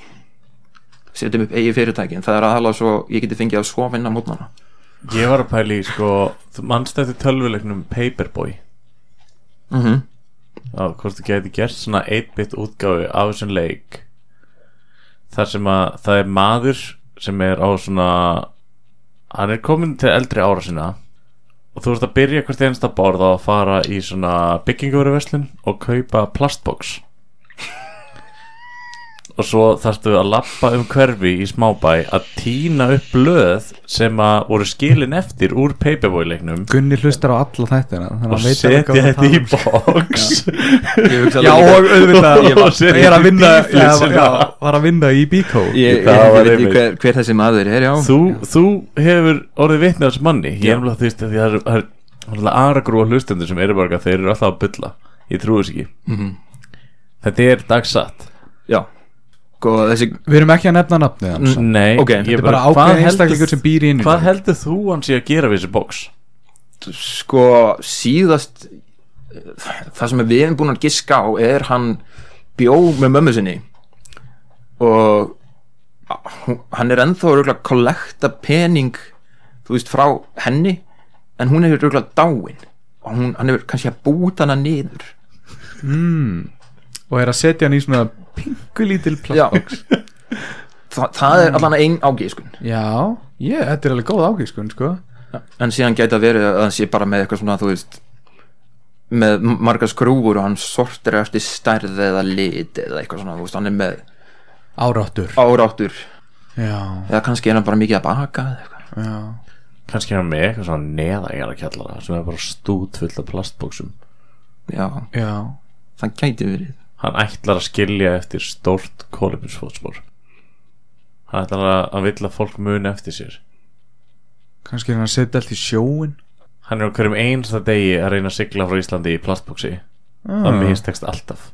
Speaker 4: setjum upp eigi fyrirtækin, það er aðalega svo ég geti fengið að svo vinna mótnana
Speaker 2: Ég var að pæla í, sko, þú manst eftir tölvuleiknum Paperboy
Speaker 4: mm
Speaker 2: Mhm. á hvort þú gæti gert svona 8-bit útgáfu af þessum leik þar sem að það er maður sem er á svona hann er komin til eldri ára sinna og þú ert að byrja hvert einasta borð á að fara í svona byggingaveruverslun og kaupa plastbox og svo þarftu að lappa um hverfi í smábæ að tína upp blöð sem að voru skilin eftir úr Paperboy leiknum
Speaker 3: Gunni hlustar á alla þættina þannig
Speaker 2: og
Speaker 3: að hann veit alveg
Speaker 2: setja
Speaker 3: hvað við
Speaker 2: þetta í
Speaker 3: tala um.
Speaker 2: box
Speaker 4: ég hugsa
Speaker 3: Já
Speaker 4: líka-
Speaker 3: <laughs> og auðvitað
Speaker 2: <laughs>
Speaker 3: Ég var,
Speaker 2: Sér
Speaker 3: ég er að
Speaker 2: í
Speaker 3: vinna
Speaker 2: bíl,
Speaker 3: ég var,
Speaker 2: svona.
Speaker 3: já, var að vinna í bíkó
Speaker 4: ég, ég,
Speaker 2: Það var
Speaker 4: ég veit ekki
Speaker 2: einmitt.
Speaker 4: hver, hver þessi maður er já
Speaker 2: þú, þú hefur orðið vitni af þessu manni ég er alveg að þú veist að því það er- það er alveg aðra grúa hlustendur sem eru bara eitthvað, þeir eru alltaf að bulla ég trúi þess ekki
Speaker 4: Mhm.
Speaker 2: þetta er dagsatt
Speaker 4: já, og
Speaker 2: Sko,
Speaker 4: þessi
Speaker 3: Við erum ekki að nefna nafnið hans
Speaker 4: Mm,
Speaker 2: nei,
Speaker 4: ok,
Speaker 2: ég
Speaker 4: þetta
Speaker 3: er bara
Speaker 2: hvað
Speaker 3: ákveðin
Speaker 2: heldur-
Speaker 3: einstaklingur sem býr í inni.
Speaker 2: hvað heldur þú hann sé að gera við þessu box
Speaker 4: sko síðast það sem við erum búin að giska á er hann bjó með mömmu sinni og hún- hann er ennþá röglega að kollekta pening þú veist frá henni en hún er röglega dáin og hún, hann er kannski að búta hana niður
Speaker 3: Og er að setja hann í svona pingu lítil
Speaker 4: já
Speaker 3: plattbox
Speaker 4: Þa, það er allan ein ágeiskun
Speaker 3: Já, ég, þetta er alveg góð ágískun sko
Speaker 4: en síðan gæti að vera að hann sé bara með eitthvað svona þú veist með marga skrúfur og hann sortir eftir stærð eða lit eða eitthvað svona þú veist, hann er með
Speaker 3: Áráttur
Speaker 4: áráttur
Speaker 3: Já,
Speaker 4: eða kannski er hann bara mikið að baka eða eitthvað.
Speaker 3: já
Speaker 2: kannski hann með eitthvað svona neðagjara kjallara sem er bara stút full af plastbóksum
Speaker 4: já,
Speaker 3: Já
Speaker 4: það gæti verið
Speaker 2: hann ætlar að skilja eftir stórt kólibrisfótspor hann ætlar að, að vill að fólk muni eftir sér
Speaker 3: Kannski er hann að setja allt í sjóin
Speaker 2: hann er á hverjum einsta degi að reyna að sigla frá Íslandi í plastbóksi
Speaker 3: ah,
Speaker 2: það minnst tekst alltaf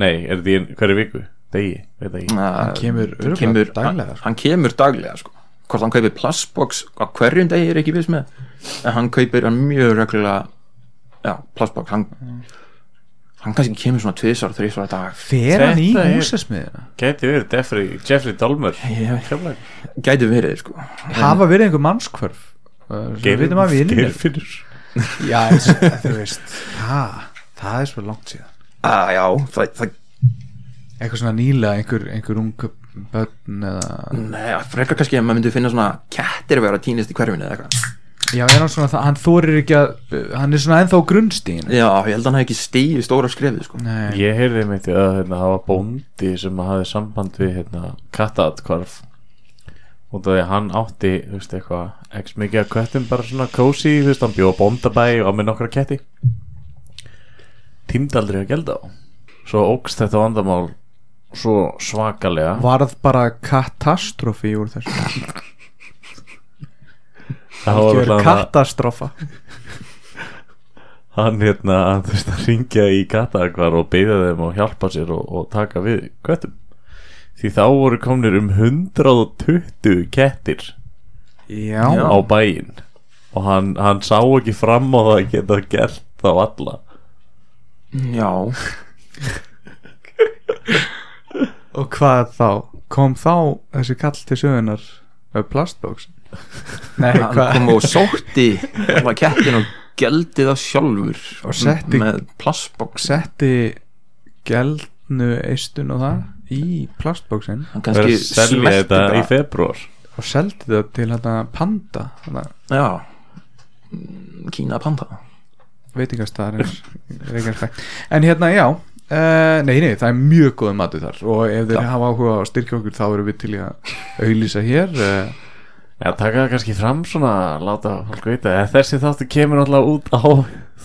Speaker 2: nei, er því hverju viku? degi, veit það ekki
Speaker 4: hann
Speaker 3: kemur örugglega
Speaker 4: kemur,
Speaker 3: daglega,
Speaker 4: hann,
Speaker 3: sko.
Speaker 4: hann kemur daglega sko. hvort hann kaupir plastbox á hverjum degi er ekki viss með en hann kaupir hann mjög reglulega já, plastbox hann, hann kannski kemur svona tvisar, þrísar dag
Speaker 3: Fer hann í
Speaker 2: Þetta er-
Speaker 3: húsasmiðina?
Speaker 2: gæti verið Jeffrey, Jeffrey Dahmer
Speaker 4: Ég- gæti verið sko.
Speaker 3: Hafa verið einhver mannskvörf Við veitum að við innir
Speaker 2: Geirfinnur
Speaker 3: Já, eins- þú veist ha, Það er svo langt síðan
Speaker 4: ah, já, það, það
Speaker 3: Eitthvað svona nýlega, einhver, einhver ung börn eða
Speaker 4: neða, frekar kannski að maður myndi finna svona kettir að vera að týnist í hverfinu eða eitthvað
Speaker 3: Já, er hann svona, það- hann þorir ekki að Hann er svona ennþá á grunnstíðin
Speaker 4: já, ég held að hann hafi ekki stíði stóra skrefið sko.
Speaker 3: Nei,
Speaker 2: Ég heyrði mitt í að hérna, það var bóndi sem hafði samband við hérna, kattaatkvarf út af því að hann átti þú veist, eitthvað ekki mikið að köttum bara svona kósi þú veist, hann bjóð bóndabæ og með nokkra ketti týmd aldrei að gelda á svo ógst þetta vandamál svo svakalega
Speaker 3: varð bara katastrófi úr þessu
Speaker 2: það var
Speaker 3: Algjör
Speaker 2: allavega-
Speaker 3: katastrófa
Speaker 2: hann hérna að þú veist að ringja í kattaakvar og beigða þeim og hjálpa sér og, og taka við köttum því þá voru komnir um 120 kettir
Speaker 3: Já,
Speaker 4: Já.
Speaker 2: á bæinn og hann, hann sá ekki fram á það að geta gert þá alla
Speaker 4: já,
Speaker 3: og hvað þá? Kom þá þessi kall til sögunar plastbóks?
Speaker 4: <laughs>
Speaker 3: Nei,
Speaker 4: hann kom og sótti alla kettin og geldi það sjálfur
Speaker 3: Og setti-
Speaker 4: með plastbox
Speaker 3: setti geldnu eistun og það í plastbóksin
Speaker 4: hann
Speaker 2: það er
Speaker 4: kannski
Speaker 2: að selja
Speaker 4: smelti
Speaker 2: þetta
Speaker 4: bara-
Speaker 2: í februar
Speaker 3: og seldi það til hérna panda hérna,
Speaker 4: Já Mm, Kína panda
Speaker 3: veitingastæðarins Reykjanesbæ. en hérna já Uh, nei, nei, það er mjög góð matu þar og ef þeir hafa áhuga á að styrkja okkur þá erum við til í að auðlýsa hér uh,
Speaker 2: Já, taka það kannski fram svona, láta fólk vita Eða Þessi þáttu kemur alltaf út á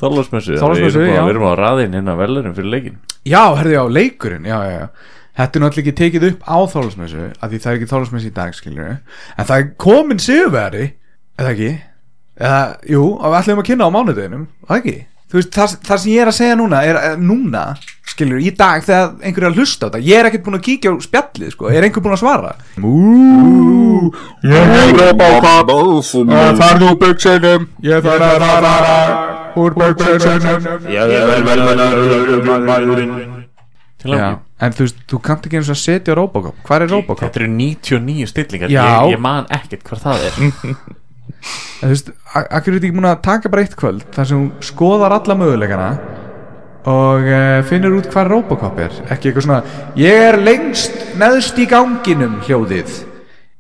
Speaker 2: Þorlásmessu
Speaker 3: Þorláksmessu,
Speaker 2: Við erum
Speaker 3: já.
Speaker 2: bara- við erum á raðinn innan velurinn fyrir leikin
Speaker 3: Já, herðu já, leikurinn já, já, já. Þetta er náttúrulega ekki tekið upp á þálasmessu af því það er ekki þálasmessu í dag skilur en það er komin sigurveri eða ekki eða, Jú, og við ætlum að kynna á mánudeginum eða ekki Þú veist, það, það sem ég er að segja núna er að núna, skilur, í dag þegar einhver er að hlusta á þetta, ég er ekkert búin að kíkja á spjallið, sko, er einhver búin að svara Mú,
Speaker 5: Það er nú byggsinum
Speaker 3: ég þarf að fara úr böksunum
Speaker 5: Ég er vel vel vel örugumæðurinn
Speaker 2: Til
Speaker 3: Já,
Speaker 2: hamingju.
Speaker 3: en þú veist, þú kannt ekki eins og að setja Robocop, hvað er Robocop?
Speaker 2: Þetta eru 99 stillingar
Speaker 3: Já. Mm.
Speaker 2: ég, ég man ekkert hvað það er
Speaker 3: En þú veist, akkur er þetta ekki múin að taka bara eitt kvöld þar sem hún skoðar alla möguleikana og uh, finnur út hvað Robocop er ekki eitthvað svona ég er lengst neðst í ganginum hljóðið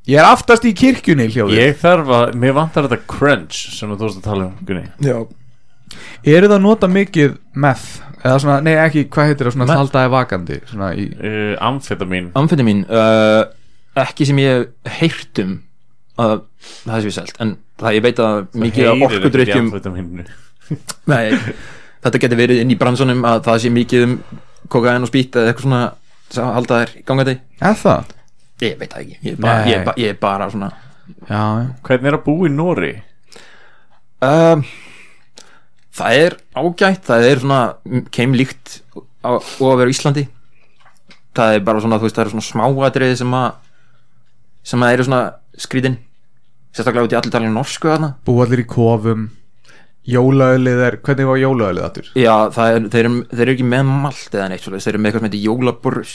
Speaker 3: ég er aftast í kirkjunni hljóðið
Speaker 2: Ég þarf að, mér vantar þetta crunch sem þú veist að tala um, Gunni
Speaker 3: eru það að nota mikið meth eða svona, nei ekki, hvað heitir það svona
Speaker 4: Meth?
Speaker 3: þaldaði vakandi svona í
Speaker 2: uh, Amfetamin
Speaker 4: Amfindi mín uh, Ekki sem ég heyrt um að það sé selt en það ég veit að mikið af orkudrykkjum
Speaker 2: Amfetaminu
Speaker 4: Nei, þetta getur verið inn í bransunum að það sé mikið um kokain og spýt eða eitthvað svona sem halda þær gangandi
Speaker 3: eða það?
Speaker 4: Ég veit það ekki, ég er bara,
Speaker 3: Nei.
Speaker 4: ég er ba ég er bara svona
Speaker 3: já, já.
Speaker 2: Hvernig er að búa í Nóri?
Speaker 4: um, Það er ágætt það er svona keimlíkt á, og að vera á Íslandi það er bara svona, þú veist, það eru svona smáatriði sem að sem að eru svona skrítin sérstaklega út í allir talinu norsku þarna
Speaker 3: búa allir í kofum jólaölið er, hvernig var jólaölið aftur?
Speaker 4: já, það er, þeir, eru, þeir eru ekki með malt eða neitt svoleiðis, þeir eru með eitthvað sem heitir jólabrus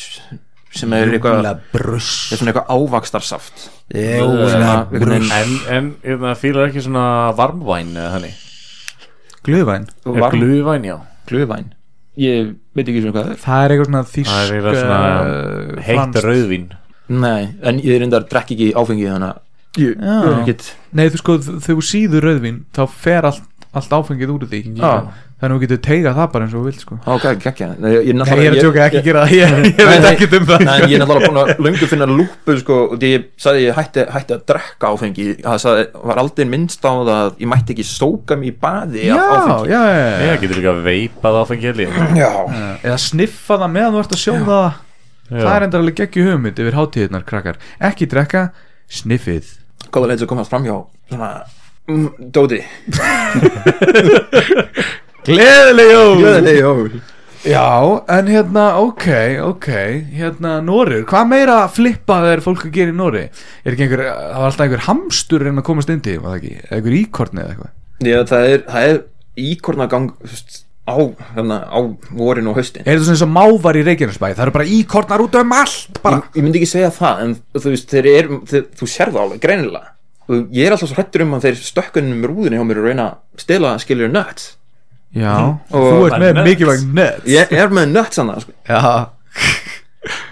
Speaker 4: sem er eitthvað
Speaker 3: jólabrus
Speaker 4: er svona eitthvað ávakstarsaft
Speaker 2: En,
Speaker 4: jólabrus
Speaker 2: en er það fílar ekki svona varmvæn eða þannig?
Speaker 3: glöðvæn
Speaker 2: Varm. Gluvæn, já
Speaker 4: gluvæn ég veit ekki svona hvað það er
Speaker 3: það er eitthvað svona þýsk
Speaker 2: Það er eitthvað svona
Speaker 3: eh,
Speaker 2: heitt
Speaker 3: franskt.
Speaker 2: rauðvín
Speaker 4: nei, en ég reyndar drekki ekki áfengi þannig að ég
Speaker 3: Já.
Speaker 4: er ekkit
Speaker 3: Nei, þú sko, þ- þegar þú síður rauðvín þá fer allt allt áfengið úr því
Speaker 4: Já.
Speaker 3: þannig að þú getur teigað það bara eins og þú vilt sko
Speaker 4: ok, geggja Nei, ég,
Speaker 3: Nei, ég er að tjóka ekki
Speaker 4: ég-
Speaker 3: gera það, ég, ég
Speaker 4: Nei,
Speaker 3: veit
Speaker 4: nei,
Speaker 3: ekki um það
Speaker 4: Nei, en ég er náttúrulega búin að löngu finna lúpu sko, og því ég sagði ég hætti, hætti að drekka áfengi það sagði, var aldrei minnst á það að ég mætti ekki sóka mig í baði
Speaker 3: Já,
Speaker 4: af áfengi
Speaker 3: já, já, já.
Speaker 2: Ég getur líka veipað áfengi held ég.
Speaker 4: já.
Speaker 3: eða sniffa það meðan þú ert að sjóða það það er endur alveg geggju hugmynd yfir hátíðirnar krakkar ekki drekka, sniffið
Speaker 4: góða leið sem komast fram hjá svona, mm, Dóti
Speaker 3: <laughs> Gleðileg jól
Speaker 4: Gleðileg jól
Speaker 3: Já, en hérna, ok, ok hérna, Nóriður, hvað meira flippað er fólk að gera í Nóri? Er ekki einhver, það var alltaf einhver hamstur en að komast inn til, var það ekki? Eða Einhver íkorni eða eitthvað
Speaker 4: já, það er, það er íkornagang þú veist, á, hérna, á vorin og haustin
Speaker 3: Er þetta svona eins og mávar í Reykjanesbæ? Það eru bara íkornar út um allt bara
Speaker 4: ég, ég myndi ekki segja það en þú veist, þeir er, þeir, þú sér það alveg greinilega og ég er alltaf svo hrættur um að þeir stökkunum um rúðinni hjá mér og reyna að stela skilur nuts
Speaker 3: Já,
Speaker 4: Og-
Speaker 3: Mhm. þú ert
Speaker 2: Bara
Speaker 3: með
Speaker 2: nuts.
Speaker 3: mikilvæg nuts
Speaker 4: ég er með nuts annað sko.
Speaker 3: Já,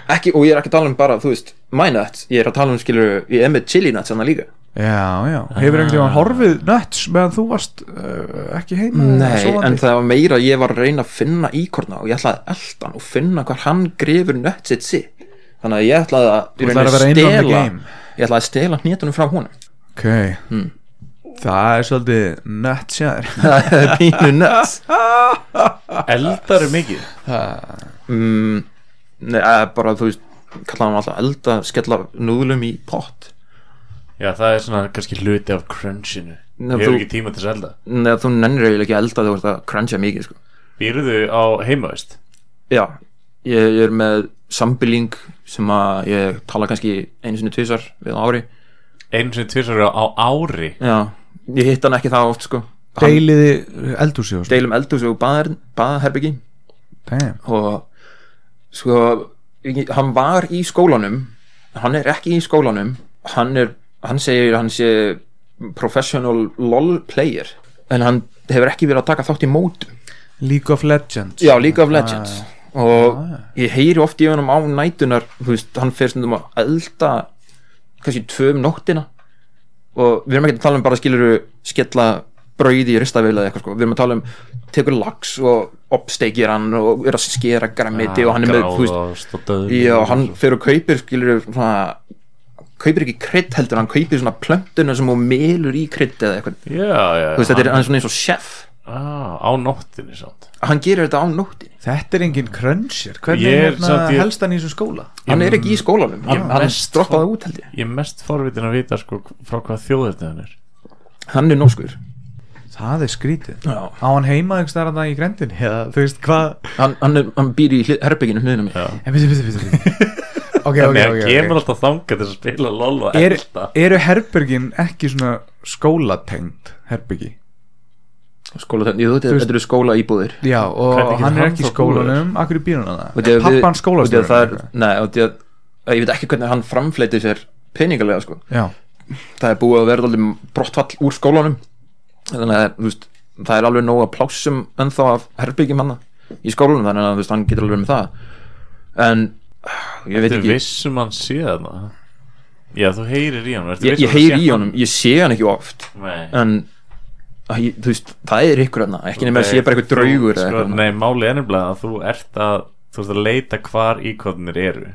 Speaker 4: ekki, og ég er ekki að tala um bara, þú veist, my nuts ég er að tala um skilur, ég er með chili nuts annað líka
Speaker 3: Já, já, hefur einhvern
Speaker 4: Ah.
Speaker 3: veginn horfið nuts meðan þú varst uh, ekki heima
Speaker 4: Nei,
Speaker 3: sofandi?
Speaker 4: en það var meira að ég var að reyna að finna íkorna og ég ætlaði að elda hann og finna hvar hann grefur nötsið sitt þannig að ég ætlaði að,
Speaker 3: Þú
Speaker 4: í
Speaker 3: ætlaðir að
Speaker 4: rauninni
Speaker 3: vera in on the
Speaker 4: stela
Speaker 3: game.
Speaker 4: ég ætlaði að stela hnétunum frá
Speaker 3: <laughs>
Speaker 4: honum
Speaker 3: Ok,
Speaker 4: Hmm.
Speaker 3: það er svolítið nuts hjá þér
Speaker 4: <laughs> það er pínu nöts
Speaker 2: Eldar er mikið
Speaker 4: mm, Nei, eh, bara þú veist kallaði hann alltaf elda, skella núðlum í pott
Speaker 2: Já það er svona kannski hluti af crunchinu
Speaker 4: Nei,
Speaker 2: Ég hef
Speaker 4: þú-
Speaker 2: ekki tíma til þess að elda
Speaker 4: Nei, þú nennir eiginlega ekki að elda þú veist að cruncha mikið sko.
Speaker 2: Býrðu á heimavist
Speaker 4: Já, ég er með sambiling sem að ég tala kannski einu sinni tvisar við á ári
Speaker 2: Einu sem tvisar á ári
Speaker 4: Já, ég hitt hann ekki það oft sko Hann-
Speaker 3: Deiliði eldúsi og
Speaker 4: deilum eldhús og baðar- baðherbyggi
Speaker 3: Damn.
Speaker 4: og sko ég- hann var í skólanum hann er ekki í skólanum hann, er, hann segir hann sé professional lol player en hann hefur ekki verið að taka þátt í mótum
Speaker 3: League of Legends
Speaker 4: já, League of
Speaker 2: Ah,
Speaker 4: Legends og ég heyri oft í honum á nætunar þú veist, hann fer stundum að elda kannski tvö um nóttina og við erum ekki að tala um bara skiluru skella brauði í ristaveila eða eitthvað sko. við erum að tala um tekur lax og uppsteikir hann og er að skera græmiti og hann er með, þú veist,
Speaker 2: Gráðast og döður
Speaker 4: já, hann fer og kaupir skiluru svona kaupir ekki krydd heldur, hann kaupir svona plöntuna sem hún melur í krydd eða eitthvað þú
Speaker 2: Já, já
Speaker 4: veist, þetta er
Speaker 2: hann-
Speaker 4: hann er svona eins og chef
Speaker 2: Ah, Á nóttinni samt
Speaker 4: hann gerir þetta á nóttinni
Speaker 3: Þetta er engin cruncher Hvernig
Speaker 2: Ég er
Speaker 3: er hérna
Speaker 2: samt ég-
Speaker 3: helst hann í þessum skóla?
Speaker 4: hann er ekki í skólanum, hann, hann
Speaker 2: mest
Speaker 4: droppaði út held ég
Speaker 2: Ég er mest forvitin að vita sko frá hvað þjóðurni hann er
Speaker 4: hann er norskur
Speaker 3: Það er skrítið
Speaker 4: Já.
Speaker 3: Á hann heima einhvers þar að það í grendin <laughs> Eða þú veist hvað
Speaker 4: hann, hann, er, hann býr í hlið- herberginu hliðinu mér
Speaker 3: En byrju, byrju, byrju
Speaker 2: <laughs>
Speaker 3: Ok, ok,
Speaker 2: Þannig að
Speaker 3: ok,
Speaker 2: hann
Speaker 3: ok
Speaker 2: kemur alltaf þangað til að spila lol og
Speaker 3: Er,
Speaker 2: elda
Speaker 3: eru herbergin ekki svona skólatengd herbergi?
Speaker 4: skóla, ég, þú,
Speaker 3: Þú
Speaker 4: þetta,
Speaker 3: veist-
Speaker 4: þetta eru skóla íbúðir
Speaker 3: Já, og
Speaker 2: Hvernig getur
Speaker 3: hann er
Speaker 2: hann
Speaker 3: ekki í
Speaker 2: þá búið
Speaker 3: skólanum Akkur í bílunum
Speaker 4: Og
Speaker 3: það?
Speaker 4: því að við-
Speaker 3: Pappan
Speaker 4: og því að það er,
Speaker 3: skólastjóður?
Speaker 4: nei, og því að, að ég veit ekki hvernig hann framfleyti sér peningalega sko.
Speaker 3: Já,
Speaker 4: það er búið að vera alveg brottfall úr skólanum þannig að þú veist, það er alveg nóga plásum ennþá af herbyggjum hann í skólanum þannig að þú veist, hann getur alveg með það en ég veit
Speaker 2: Þú
Speaker 4: ekki
Speaker 2: vissum um hann sé þarna Já, þú heyrir í honum ertu
Speaker 4: ég,
Speaker 2: viss um
Speaker 4: ég
Speaker 2: að
Speaker 4: heyri
Speaker 2: sé
Speaker 4: í honum, ég sé hann ekki oft
Speaker 2: Nei.
Speaker 4: en æ, ég- þú veist, það er ykkur hérna ekki nema að sé bara eitthvað
Speaker 2: Þú-
Speaker 4: draugur eða
Speaker 2: sko,
Speaker 4: eitthvað
Speaker 2: Nei, málið er nefnilega að þú ert að þú ert að leita hvar íkotnir eru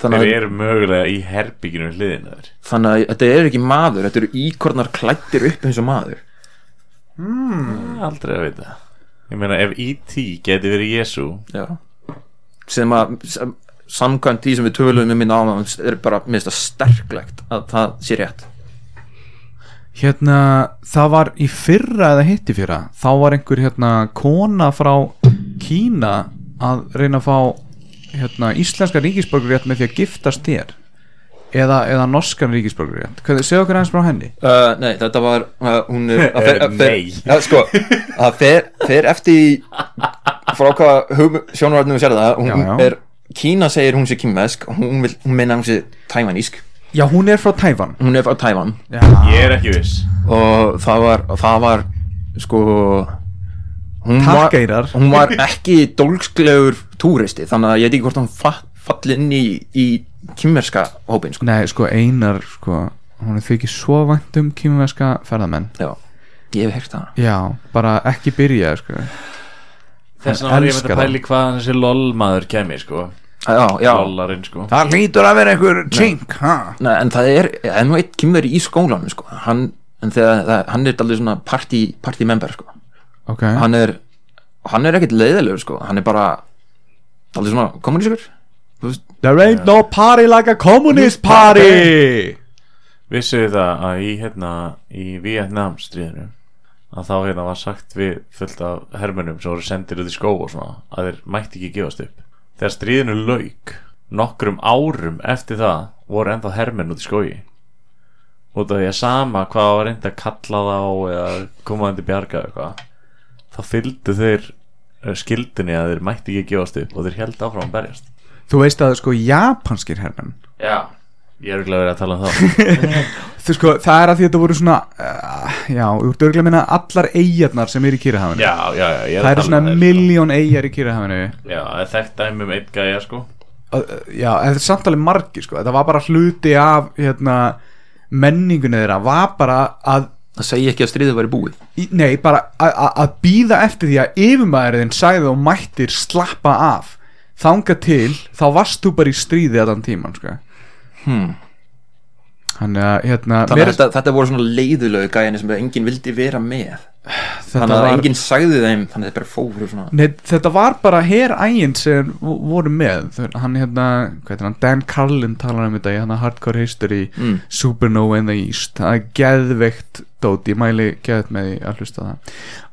Speaker 4: þannig,
Speaker 2: Þeir
Speaker 4: að,
Speaker 2: eru mögulega í herbygginu hliðina þér
Speaker 4: þannig að þetta er ekki maður þetta eru íkornar klættir upp eins og maður
Speaker 2: Aldrei að vita Ég meina, ef E.T. geti verið Jésu
Speaker 4: já. sem að sem, samkvæmt því sem við töluðum um minna áðan er bara minnst að sterklegt að það sé rétt
Speaker 3: Hérna, það var í fyrra eða hitt í fyrra þá var einhver hérna kona frá Kína að reyna að fá hérna íslenska ríkisborgurrétt með því að giftast þér eða, eða norskan ríkisborgurrétt Hvernig, segðu okkur aðeins frá henni
Speaker 4: Uh, nei, þetta var uh, hún er, að fer, <laughs> að fer,
Speaker 2: Nei.
Speaker 4: ja, sko, að fer, fer eftir í- frá hvað sjónvarnum við sér það hún
Speaker 3: Já, já.
Speaker 4: er, Kína segir hún sé kýmvesk hún, vill- hún meina hún sé tæmanísk
Speaker 3: Já, hún er frá Tæfan
Speaker 4: hún er frá Tævan
Speaker 3: Já,
Speaker 2: Ég er ekki viss
Speaker 4: og það var, og það var sko hún
Speaker 3: Takk, Einar.
Speaker 4: var, hún var ekki dólsklegur túristi þannig að ég veit ekki hvort hún fall, fall inn í, í kýmverska hópin sko.
Speaker 3: Nei, sko Einar sko, hún er þykir svo vænt um kýmverska ferðamenn
Speaker 4: Já. ég hef heyrt það
Speaker 3: Já, bara ekki byrja sko.
Speaker 2: Þess vegna
Speaker 3: Hann
Speaker 2: var ég með
Speaker 3: elskar
Speaker 2: að
Speaker 3: það.
Speaker 2: pæli hvaðan þessi LOL maður kemi sko
Speaker 4: já, já,
Speaker 2: Lollarinn sko
Speaker 3: Það lítur að vera einhver chink ha?
Speaker 4: Nei, en það er, það er nú eitt kymver í skólanum sko. hann, en þegar það, hann er allir svona party, party member sko.
Speaker 3: Ok,
Speaker 4: hann er hann er ekkert leiðilegur sko. hann er bara allir svona kommunískur
Speaker 3: There ain't no party like a communist party
Speaker 2: Vissuðu það að í hérna í Vietnam stríðinu að þá hérna var sagt við fullt af hermönum sem voru sendir út í skó og svona að þeir mætti ekki gefast upp þegar stríðinu lauk nokkrum árum eftir það voru ennþá hermön út í skói út af því að sama hvað var reynd að kalla þá eða koma þeim til bjarga eða eitthvað þá fylgdu þeir eh, skildinni að þeir mætti ekki gefast upp og þeir held áfram að berjast
Speaker 3: Þú veist að sko japanskir hermenn
Speaker 2: Já, ég er ekki að vera að tala um það
Speaker 3: Þú sko, það er að því að þetta voru svona uh, Já, þú ert örgulega að minna allar eyjarnar sem eru í Kýrahafinu
Speaker 2: Já, já, já, ég er
Speaker 3: Það
Speaker 2: að
Speaker 3: eru
Speaker 2: tala um
Speaker 3: svona
Speaker 2: sko.
Speaker 3: miljón eyjar í Kýrahafinu
Speaker 2: Já, það er þekkt dæmi um einn gæja sko
Speaker 3: Ö, ö, eh, Já, en þetta er samt alveg margir sko Þetta var bara hluti af hérna, menningunni þeirra Var bara að
Speaker 4: það segi ekki að stríðið væri búið
Speaker 3: í- Nei, bara að- að að býða eftir því að yfirmaðurinn sagði og mættir slappa af Þanga til, þá varst þú bara í stríði allan tíman sko
Speaker 4: hmm.
Speaker 3: Þannig að hérna
Speaker 4: þannig að
Speaker 3: mér-
Speaker 4: þetta, þetta voru svona leiðilegu gæðinni sem enginn vildi vera með
Speaker 3: þetta
Speaker 4: þannig að
Speaker 3: var-
Speaker 4: enginn sagði þeim þannig að þetta bara fóru svona
Speaker 3: Nei, þetta var bara Her Ægin sem vo- voru með Þau- hann hérna, hvað heitir hann, Dan Carlin talar um þetta í hann Hardcore History
Speaker 4: Mm.
Speaker 3: Supernova in the East það er geðveikt dót, ég mæli geðveikt með því að hlusta á það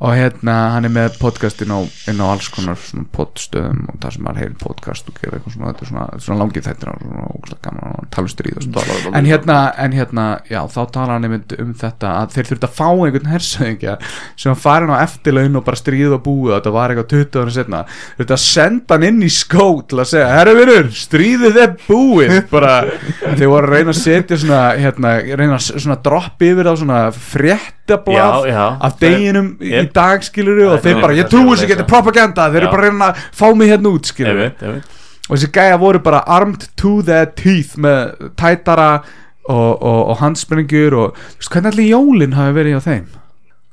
Speaker 3: og hérna, hann er með podcast inn á, inn á alls konar svona podstöðum og það sem maður heyri podcast og gera eitthvað svona þetta er svona, svona langið þættir og svona ógslag gaman um og talustur í það svona
Speaker 2: um
Speaker 3: en hérna, en hérna, já, þá tala hann einmitt um þetta að þeir þurftu að fá einhvern hersöðingja sem hann farin á eftirlaun og bara stríða og búið og þetta var eitthvað 20 ára setna þurftu að senda hann inn í skó til að segja, herru vinnur, stríðið er búið bara, þeir voru að reyna að setja svona, hérna, reyna að s- svona droppi yfir á svona fréttablað
Speaker 2: Já, já.
Speaker 3: af deginum í
Speaker 2: Ég-
Speaker 3: í dag skilur og
Speaker 2: Það er
Speaker 3: þeir bara,
Speaker 2: einmitt
Speaker 3: ég
Speaker 2: það sem
Speaker 3: trúi
Speaker 2: ég
Speaker 3: þessu
Speaker 2: lesa.
Speaker 3: ekki, þetta er propaganda þeir eru
Speaker 2: Já.
Speaker 3: bara að reyna að fá mig hérna út skilur
Speaker 2: Einmitt, einmitt
Speaker 3: og þessi gæja voru bara armed to the teeth með tætara og, og, og handsprengjur og þú veist, hvernig allir jólin hafi verið hjá þeim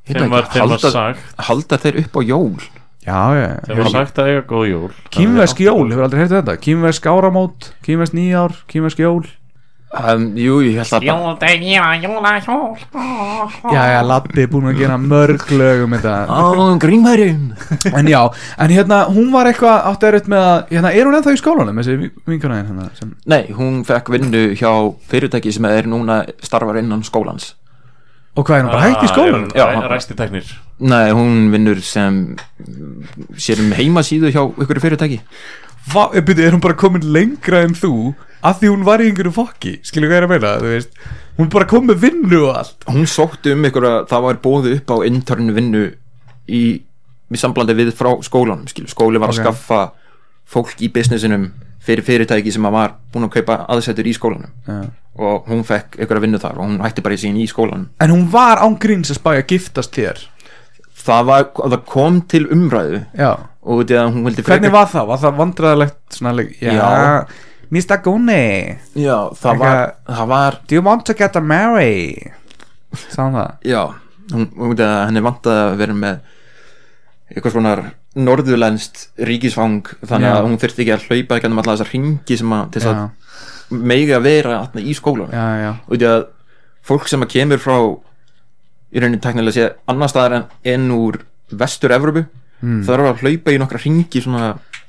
Speaker 4: Ég veit
Speaker 2: Þeim var,
Speaker 4: ekki,
Speaker 2: þeim var
Speaker 4: Hérna halda-
Speaker 2: sagt
Speaker 4: halda þeir upp á jól
Speaker 3: já,
Speaker 2: Þeim var
Speaker 3: já,
Speaker 2: sagt að eiga góð jól
Speaker 3: kýmversk jól, hefur aldrei heyrtið þetta kýmversk áramót, kýmversk nýjár kýmversk jól,
Speaker 4: um, jú, ég held að bara-
Speaker 3: já, já, Latti er búin að gera mörg lög um þetta
Speaker 4: á grímærin
Speaker 3: en já, en hérna, hún var eitthvað átti erut með að, hérna, er hún ennþá í skólanum þessi vinkunæðin hérna sem,
Speaker 4: nei, hún fekk vinnu hjá fyrirtæki sem er núna starfar innan skólans
Speaker 3: og hvað Ah, er hún bara hægt í skólanum
Speaker 4: Já,
Speaker 2: Já,
Speaker 4: hann-
Speaker 2: ræsti teknir
Speaker 4: nei, hún vinnur sem mm, sér um heimasíðu hjá ykkur fyrirtæki
Speaker 3: Va, eh, byrju, er hún bara komin lengra en þú að því hún var í einhverju fokki skilur hvað ég er að meina, þú veist hún er bara kom með vinnu og allt
Speaker 4: hún sótti um ykkur að það var bóði upp á intern vinnu í, í samblandi við frá skólanum skilur. skóli var að
Speaker 3: Ok.
Speaker 4: skaffa fólk í businessinum fyrir fyrirtæki sem að var búin að kaupa aðsetur í skólanum og hún fekk ykkur að vinna þar og hún hætti bara í sín í skólanum
Speaker 3: en hún var án gríns að spæja að giftast þér
Speaker 4: það, var, það kom til umræðu
Speaker 3: já,
Speaker 4: og því að hún vildi
Speaker 3: hvernig var það, var það vandræðalegt svona leik, já,
Speaker 4: Já.
Speaker 3: Mr. Gunni
Speaker 4: já, það, var, það var
Speaker 3: do you want to get married sá hann það
Speaker 4: já, hún, hún, vildi að henni vant að vera með eitthvað svona norðurlenskt ríkisfang þannig
Speaker 3: Já.
Speaker 4: að hún þurfti ekki að hlaupa ekki um alla þessar ringi sem að, til þess
Speaker 3: já,
Speaker 4: að megi að vera atna, í skólanum
Speaker 3: já, já,
Speaker 4: og því að fólk sem að kemur frá í rauninni teknilega sé annar staðar en, en úr vestur-Evrópu
Speaker 3: Hmm.
Speaker 4: þarf að hlaupa í nokkra ringi svona,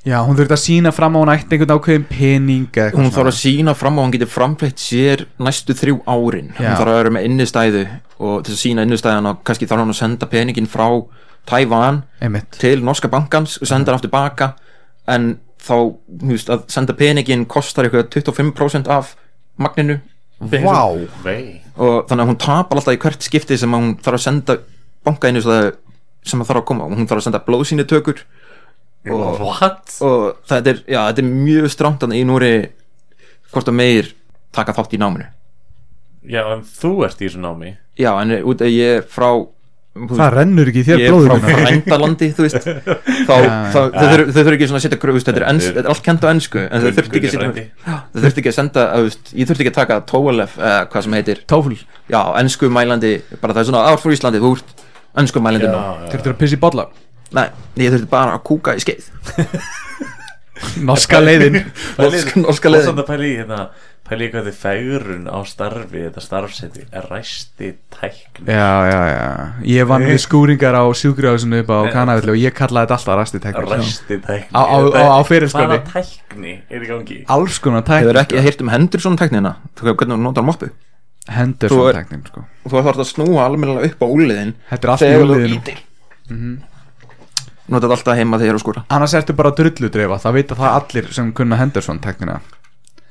Speaker 3: já, hún þurfti að sína fram á hún ætti einhvern ákveðin pening eða eitthvað
Speaker 4: hún þarf að
Speaker 3: svona.
Speaker 4: sína fram og hún getur framfleytt sér næstu þrjú árin
Speaker 3: Já.
Speaker 4: hún þarf að vera með innistæðu og til að sína innistæðan og kannski þarf hún að senda peningin frá Tævan
Speaker 3: einmitt,
Speaker 4: til norska bankans og senda hann aftur baka en þá, þú veist, að senda peningin kostar eitthvað 25% af magninu
Speaker 3: vá
Speaker 2: Vei
Speaker 4: og þannig að hún tapar alltaf í hvert skipti sem að hún þarf að senda bankaðinu sem að þarf að koma hún þarf að senda blóðsýni tökur
Speaker 2: What?
Speaker 4: og þetta er, já, þetta er mjög stránt þannig í núri hvort að meir taka þátt í náminu
Speaker 2: Já, en þú ert í þessu námi
Speaker 4: já, en út að ég er frá
Speaker 3: það rennur ekki í þér
Speaker 4: ég er frá
Speaker 3: blóðinu
Speaker 4: frændalandi þú veist þá, þá þau þurf- þau þurftu ekki svona að setja gröfust þetta er, ens, þetta er allt kent á ennsku en þau þurftu ekki að setja
Speaker 2: Kunningi
Speaker 4: Já, þau þurftu ekki að senda að, þú veist, ég þurfti ekki að taka tólef eða hvað sem heitir
Speaker 3: tófl
Speaker 4: já, ennsku mælandi bara það er svona ár frá Íslandi, þú ert önskumælindinu
Speaker 2: já,
Speaker 3: Þurftur að pissa í bolla
Speaker 4: Nei, ég þurfti bara að kúka í skeið
Speaker 3: Norska leiðin <laughs>
Speaker 4: Norska- Norska
Speaker 2: Og
Speaker 4: leiðin
Speaker 2: samt að pæli í hérna Pæli í hvað þið fegrun á starfi Þetta starfseti er ræsti tækni
Speaker 3: Já, já, já Ég vann við skúringar á sjúkrjóðsunu upp á Kanavill og ég kallaði þetta alltaf sko. rasti teknik
Speaker 2: Ræsti tækni
Speaker 3: Á- á- á- á fyrirskóli.
Speaker 2: Hvaða tækni er í gangi?
Speaker 3: Alls konar
Speaker 4: Hefur
Speaker 3: teknik
Speaker 4: ekki heyrt um hendur svona teknina Hvernig hún notar moppu
Speaker 3: Henderson
Speaker 4: Þú
Speaker 3: svo
Speaker 4: er-
Speaker 3: teknik sko
Speaker 4: Og þú þarf að snúa almennilega upp á úliðin
Speaker 3: Þetta er allt í Mhm.
Speaker 4: Þegar þú
Speaker 3: úlnliðinum.
Speaker 4: ítir Notar þetta alltaf heima þegar þú skora
Speaker 3: Annars ertu bara drulludreifa, það vita það allir sem kunna Henderson teknina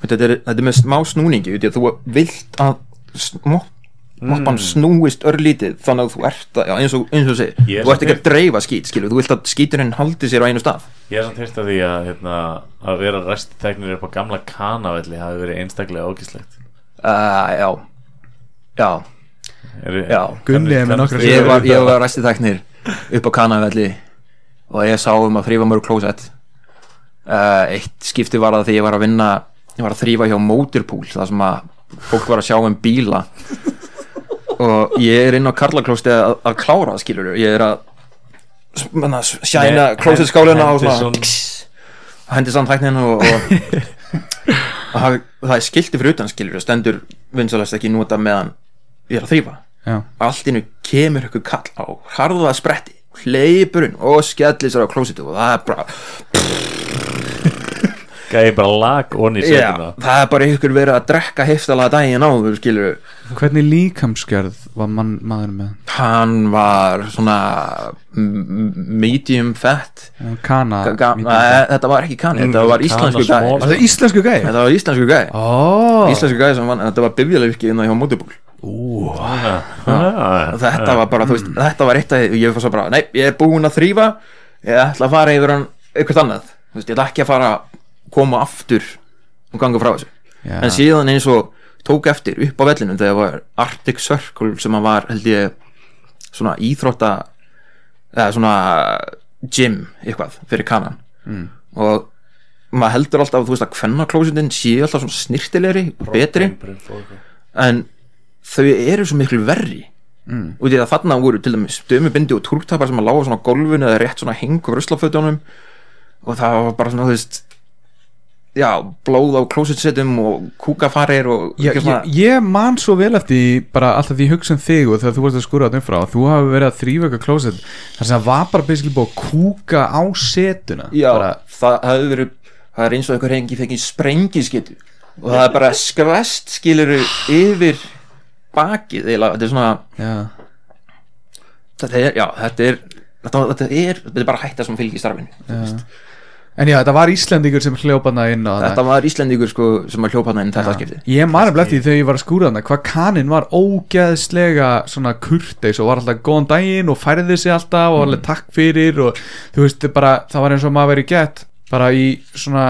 Speaker 4: þetta er, þetta er með smá snúningi því að þú vilt að smopp moppan snúist örlítið þannig að þú ert að, já, eins og, eins og þú segir
Speaker 2: Ég er
Speaker 4: þú ert ekki
Speaker 2: samt
Speaker 4: að dreifa skít, skilur, þú vilt að skíturinn haldi sér á einu stað
Speaker 2: Ég er samt hýrt að því að, hérna, að vera restitæknir upp á gamla kanavelli hafi verið einstaklega ógislegt
Speaker 4: uh, já, já,
Speaker 2: er,
Speaker 4: já
Speaker 3: Gunni er með nokkra
Speaker 4: ég var, ég var ræsti tæknir upp á kanavelli og ég sá um að þrýfa mörg klósett uh, eitt skipti var það því ég var að vinna ég var að þrýfa hjá mótirpúl það sem að fólk var að sjá um bíla og ég er inn á Karlaklósti að, að klára skilur ég er að manna, sjæna
Speaker 2: Nei,
Speaker 4: klósett skálina og
Speaker 2: Henderson.
Speaker 4: svona hendi samt hæknin og, og, og það, það er skilti fyrir utan skilur stendur vinsalast ekki nota meðan ég er að þrýfa
Speaker 3: Já.
Speaker 4: allt innu kemur ykkur kall á harða spretti hleypurinn og skellir sér á klósitu og það er bara
Speaker 2: Gæði bara lag onni í setina
Speaker 4: <laughs> Já, það er bara ykkur verið að drekka heftalega daginn áður skilur
Speaker 3: Hvernig líkamsgjörð var mann, maður með?
Speaker 4: hann var svona m- m- medium fat
Speaker 3: Já, Kana
Speaker 4: Ga- ga-
Speaker 3: Mítið.
Speaker 4: Nei, þetta var ekki kann, þetta var
Speaker 2: Kana
Speaker 4: íslensku
Speaker 2: small.
Speaker 4: gæði
Speaker 3: Var það íslensku gæði?
Speaker 4: þetta var íslensku
Speaker 3: Ah.
Speaker 4: gæði
Speaker 3: Ó
Speaker 4: íslensku gæði sem vann, þetta var bifjalavirki innan hjá mótibúl
Speaker 2: Ah,
Speaker 4: þetta var bara, þú veist, þetta var eitt að ég var svo bara, nei, ég er búinn að þrýfa ég ætla að fara yfir hann eitthvað annað þú veist, ég ætla ekki að fara að koma aftur og ganga frá þessu
Speaker 3: Já.
Speaker 4: en síðan eins og tók eftir upp á vellinum þegar var Arctic Circle sem að var, held ég svona íþrótta eða svona gym eitthvað fyrir kanan mm. og maður heldur alltaf, þú veist, að kvennaklósitin sé alltaf svona snirtilegri og betri en þau eru svo miklu verri mm. út í að þarna voru til dæmis dömubindi og túrktapar sem að lága svona á gólfinu eða rétt svona hengur ruslafötunum og það var bara svona þú veist já, blóð á klósetsetum og kúkafarir og
Speaker 3: Já,
Speaker 4: ekki
Speaker 3: ég, ég man svo vel eftir því, bara alltaf því ég hugsa um þig og þegar þú varst að skúra þarna upp frá þú hafi verið að þrýfa eitthvað klósett þar sem það var bara basically búið að kúka á setuna
Speaker 4: já
Speaker 3: bara,
Speaker 4: það hefur verið það er eins og einhver hengi fengið sprengiskytu og það er bara skvest skilur yfir bakið eiginlega, þetta er svona
Speaker 3: já.
Speaker 4: þetta er, já, þetta er Þetta, þetta, er, þetta er bara hætta sem fylgir starfinu
Speaker 3: en já, þetta var Íslandingur sem hljópaðna inn á
Speaker 4: Þetta var Íslendingur sko, sem að hljópa hana inn þetta skipti
Speaker 3: ég man um eftir því þegar ég var að skúra þarna hvað kanin var ógeðslega svona kurteis og var alltaf góðan daginn og færði sig alltaf og
Speaker 4: Mm.
Speaker 3: alveg takk fyrir og þú veist, bara, það var eins og maður verið gett bara í svona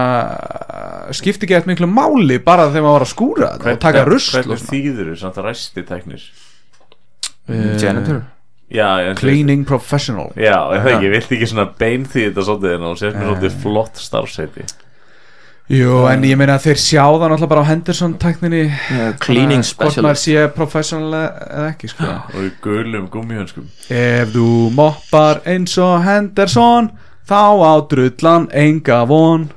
Speaker 3: skipti gett miklu máli bara þegar maður var að skúra þetta og taka rusl og
Speaker 2: Hvernig
Speaker 3: svona.
Speaker 2: þýður þú samt restitæknir?
Speaker 3: Eh,
Speaker 4: Janitor
Speaker 2: Já, en þú veist-
Speaker 3: Cleaning professional
Speaker 2: Já, <laughs> ég það ekki, ég vilt ekki svona bein því þetta svolítið hérna, en þú sést mér svolítið flott starfseti
Speaker 3: Jú, en ég meina að þeir sjá það náttúrulega bara á Henderson-tækninni
Speaker 4: Cleaning
Speaker 3: Hvort maður
Speaker 4: specialist
Speaker 3: sé professional eða ekki sko.
Speaker 2: og í gulum gummihönskum
Speaker 3: Ef þú moppar eins og Henderson Þá á drullan enga von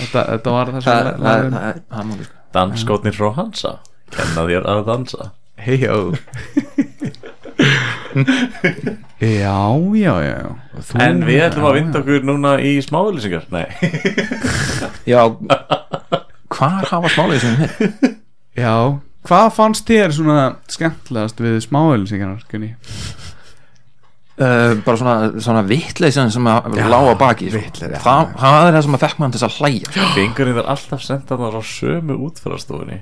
Speaker 3: Þetta, þetta var það
Speaker 4: Það
Speaker 3: sem
Speaker 4: það-
Speaker 3: lagðin
Speaker 4: það er það má við sko.
Speaker 2: Danskotnir frá Hansa Kenna þér að dansa
Speaker 3: Heiðjó <laughs> Já, já, já já. Þú,
Speaker 2: En við ætlum að vinda okkur núna í smáðlýsingar Nei,
Speaker 4: Já Hvar hafa smálið sem hér?
Speaker 3: Já, hvað fannst þér svona skemmtilegast við smáölusingarnar, Gunni?
Speaker 4: <laughs> Uh, bara svona, svona vitleysin sem að lága baki sko.
Speaker 3: vitleið, já.
Speaker 4: það, það er það sem að fekk mann til þess að hlæja sko.
Speaker 2: fingurinn er alltaf sendan á sömu útfærastofunni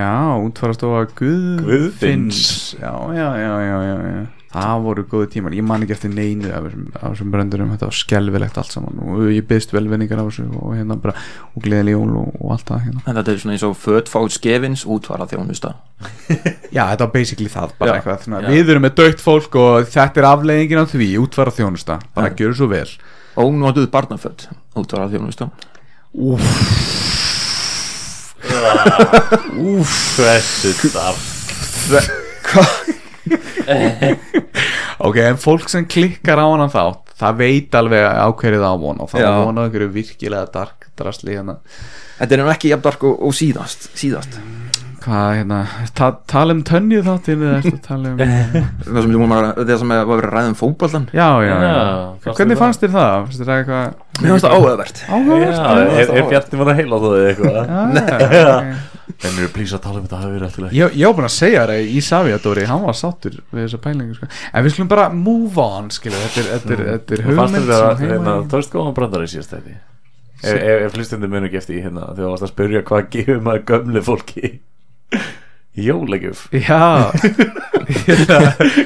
Speaker 3: Já, útfarastofa Guð...
Speaker 2: Guðfinns.
Speaker 3: Já, já, já, já, já, já Það voru góðu tímar, ég man ekki eftir neinu af þessum, af þessum bröndurum, þetta var skelvilegt allt saman og ég byðst velvinningar af þessu og hérna bara, og gleðileg jól og, og allt það hérna
Speaker 4: En þetta er svona eins og fötfáð skefins útvara þjónusta
Speaker 3: Já, þetta var basically það, bara
Speaker 4: Já.
Speaker 3: eitthvað svona,
Speaker 4: Já.
Speaker 3: við erum með dögt fólk og þetta er afleiðingin af því, útvara þjónusta bara
Speaker 4: Já.
Speaker 3: gjöru svo vel
Speaker 4: Ónotuð barnafött útvara þjónusta
Speaker 2: Úf, þessu starf
Speaker 3: Ok, en fólk sem klikkar á hann þátt Það veit alveg á hverju það á von Og það
Speaker 4: Já.
Speaker 3: á von á einhverju virkilega dark drasli hérna
Speaker 4: Þetta er nú ekki jafn dark og, og síðast Síðast
Speaker 3: Hvað hérna, ta tala um tönnið þáttinn Eða ertu að tala <laughs> um
Speaker 4: Það sem við vorum að- þetta sem var verið að ræða um fótboltan
Speaker 3: Já, já, já,
Speaker 2: Já, fannst þér
Speaker 3: Hvernig
Speaker 2: það?
Speaker 3: fannst þér það? Fannst þér það eitthvað
Speaker 4: Mér finnst það áhugavert
Speaker 3: áhugavert?
Speaker 2: Já, er, er Bjarni var að heila á það eitthvað
Speaker 3: <laughs> Já, Ah, ok.
Speaker 2: En eru plís að tala um þetta hafi verið alltaf
Speaker 3: Ég, ég var búin að segja þér að í Saviadóri hann var sáttur við þessa pælingu sko. en við skulum bara move on skilu. þetta er, þetta er, þetta er
Speaker 2: Og fannst
Speaker 3: hugmynd
Speaker 2: þetta
Speaker 3: sem
Speaker 2: hérna,
Speaker 3: heima-
Speaker 2: tókst góðan brandar í síðast þetta Ef, ef, ef hlustandi munu ekki eftir því hérna Þegar þú varst að spyrja hvað gefur maður gömlu fólki Jólagjöf
Speaker 3: <laughs> já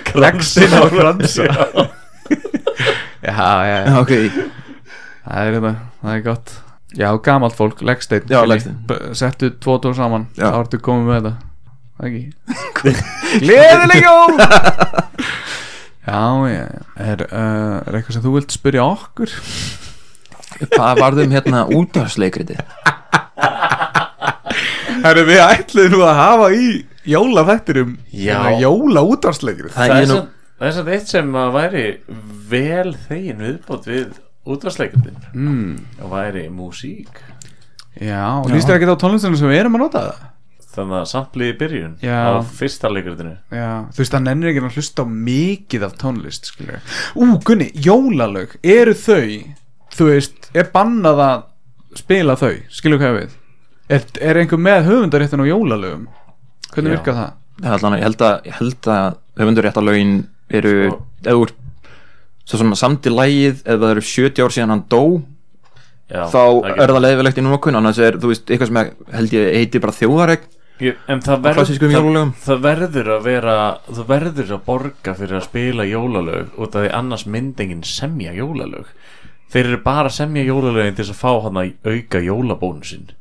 Speaker 2: Kransin
Speaker 3: Exin á kransa. já, já,
Speaker 4: Já,
Speaker 3: já.
Speaker 4: ok
Speaker 3: Það, er, þetta, það er gott já, gamalt fólk, leggsteinn
Speaker 4: Já,
Speaker 3: Gilli.
Speaker 4: legsteinn.
Speaker 3: B- settu tvo tór saman
Speaker 4: Já.
Speaker 3: þá ertu komið með þetta Það ekki <laughs> gleðileg jól já, já, já. er, uh, er eitthvað sem þú vilt spyrja okkur
Speaker 4: Hvað varðum hérna útdagsleikriti?
Speaker 3: Herru, við ætlum nú að hafa í jólaþættirum
Speaker 2: Já.
Speaker 3: hérna, jóla útvarsleikir
Speaker 4: Það
Speaker 2: Það
Speaker 4: er
Speaker 2: er
Speaker 4: ég nú
Speaker 2: samt- það er samt eitt sem að væri vel þegin viðbót við útvarsleikundin
Speaker 3: mm.
Speaker 2: og væri músík
Speaker 3: Já, og líst þér ekki á tónlistinu sem við erum að nota það
Speaker 2: þannig að samtlið í byrjun
Speaker 3: Já.
Speaker 2: á fyrsta leikritinu
Speaker 3: Já, þú veist, það nennir ekki að hlusta á mikið af tónlist, skilur Ú, Gunni, jólalög, eru þau þú veist, er bannað að spila þau, skilur hvað ég við Er, er einhver með höfundaréttin á jólalögum? Hvernig
Speaker 2: Já.
Speaker 3: virkar það?
Speaker 4: Það er allan að ég held að, ég held að höfundur rétt að lögin eru
Speaker 2: Sko-
Speaker 4: eða úr svo sem að samt í lægið ef það eru 70 ár síðan hann dó
Speaker 2: Já,
Speaker 4: þá er
Speaker 2: getur-
Speaker 4: það leiðilegt í númokun annars er þú veist eitthvað sem held ég heiti bara þjóðaregn
Speaker 2: Ég- En það
Speaker 4: á klassískum
Speaker 2: það-
Speaker 4: jólalögum
Speaker 2: Það verður að vera Þú verður að borga fyrir að spila jólalög út af því annars myndingin semja jólalög Þeir eru bara að semja jólalögin til þess að fá hann að auka jólabónusin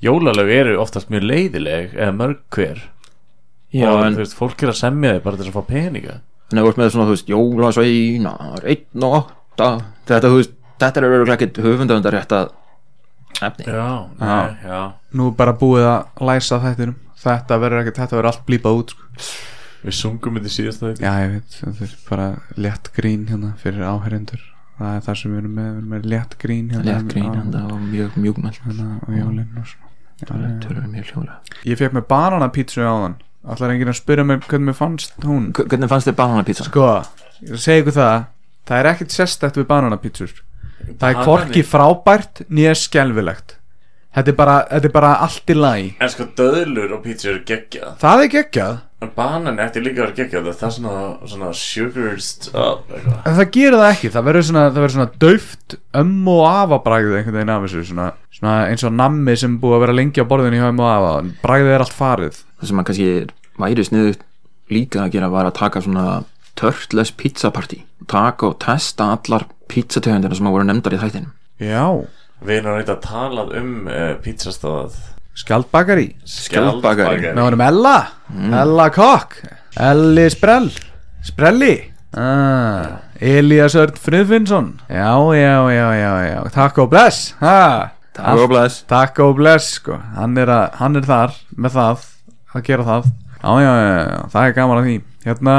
Speaker 2: Jólalög eru oftast mjög leiðileg eða mörg hver
Speaker 4: Já,
Speaker 2: og
Speaker 4: en
Speaker 2: þú veist, fólk er að semja þig bara til þess að fá peninga
Speaker 4: en ef þú ert með svona þú veist jólasveinar, 1 og 8 þetta þú veist, þetta er öruglega ekkert höfundavundar rétt að efni
Speaker 2: Já, nei, já
Speaker 3: Nú er bara búið að læsa þættinum Þetta verður ekkert, þetta verður allt blípað út, sko
Speaker 2: Við sungum þetta í síðast það
Speaker 3: Já, ég veit, þetta er bara létt grín hérna fyrir áherendur Það er það sem við erum með, við erum með létt grín hérna
Speaker 4: létt grín, en það var mjög mjúkmælt
Speaker 3: hérna á jólinn og svona Já,
Speaker 4: tölur mjög hljóðlega
Speaker 3: já. Ég fekk með bananapítsu á þann Ætlar enginn að spyrja mér hvernig mér fannst hún
Speaker 4: H- Hvernig fannst þér bananapítsa?
Speaker 3: Sko, ég er að segja ykkur það Það er ekkert sérstætt við bananapítsur Það er
Speaker 2: Banani.
Speaker 3: hvorki frábært nýja skelfilegt Þetta er bara, þetta er bara allt í lagi
Speaker 2: En sko döðlur og pítsu eru geggjað
Speaker 3: Það er geggjað
Speaker 2: En banan eftir líka eru geggjað Það er svona, svona sugarist up eitthvað
Speaker 3: En það gerir það ekki, það verður svona, það verður svona dauft ömmu og afa bragðið einhvern veginn af þessu svona, svona eins og nammi sem búið að vera lengi á borðinu hjá ömmu og afa en bragðið er allt farið
Speaker 4: það sem að kannski væri sniðut líka að gera var að taka svona törtless pizza party taka og testa allar pizzategundina sem að voru nefndar í þættinum
Speaker 3: Já,
Speaker 2: Við erum reynda að talað um uh, pítsastáð
Speaker 3: skjaldbakari
Speaker 4: Skjaldbakari.
Speaker 3: Ná erum Ella, Ella Kokk, Elli Sprell, Sprelli ah, Elías Örn Friðfinnsson Já, já, já, já, já, takk og bless ha.
Speaker 4: Takk og bless
Speaker 3: Takk og bless sko hann er, að, hann er þar með það að gera það já, já, já, já, það er gaman að því hérna,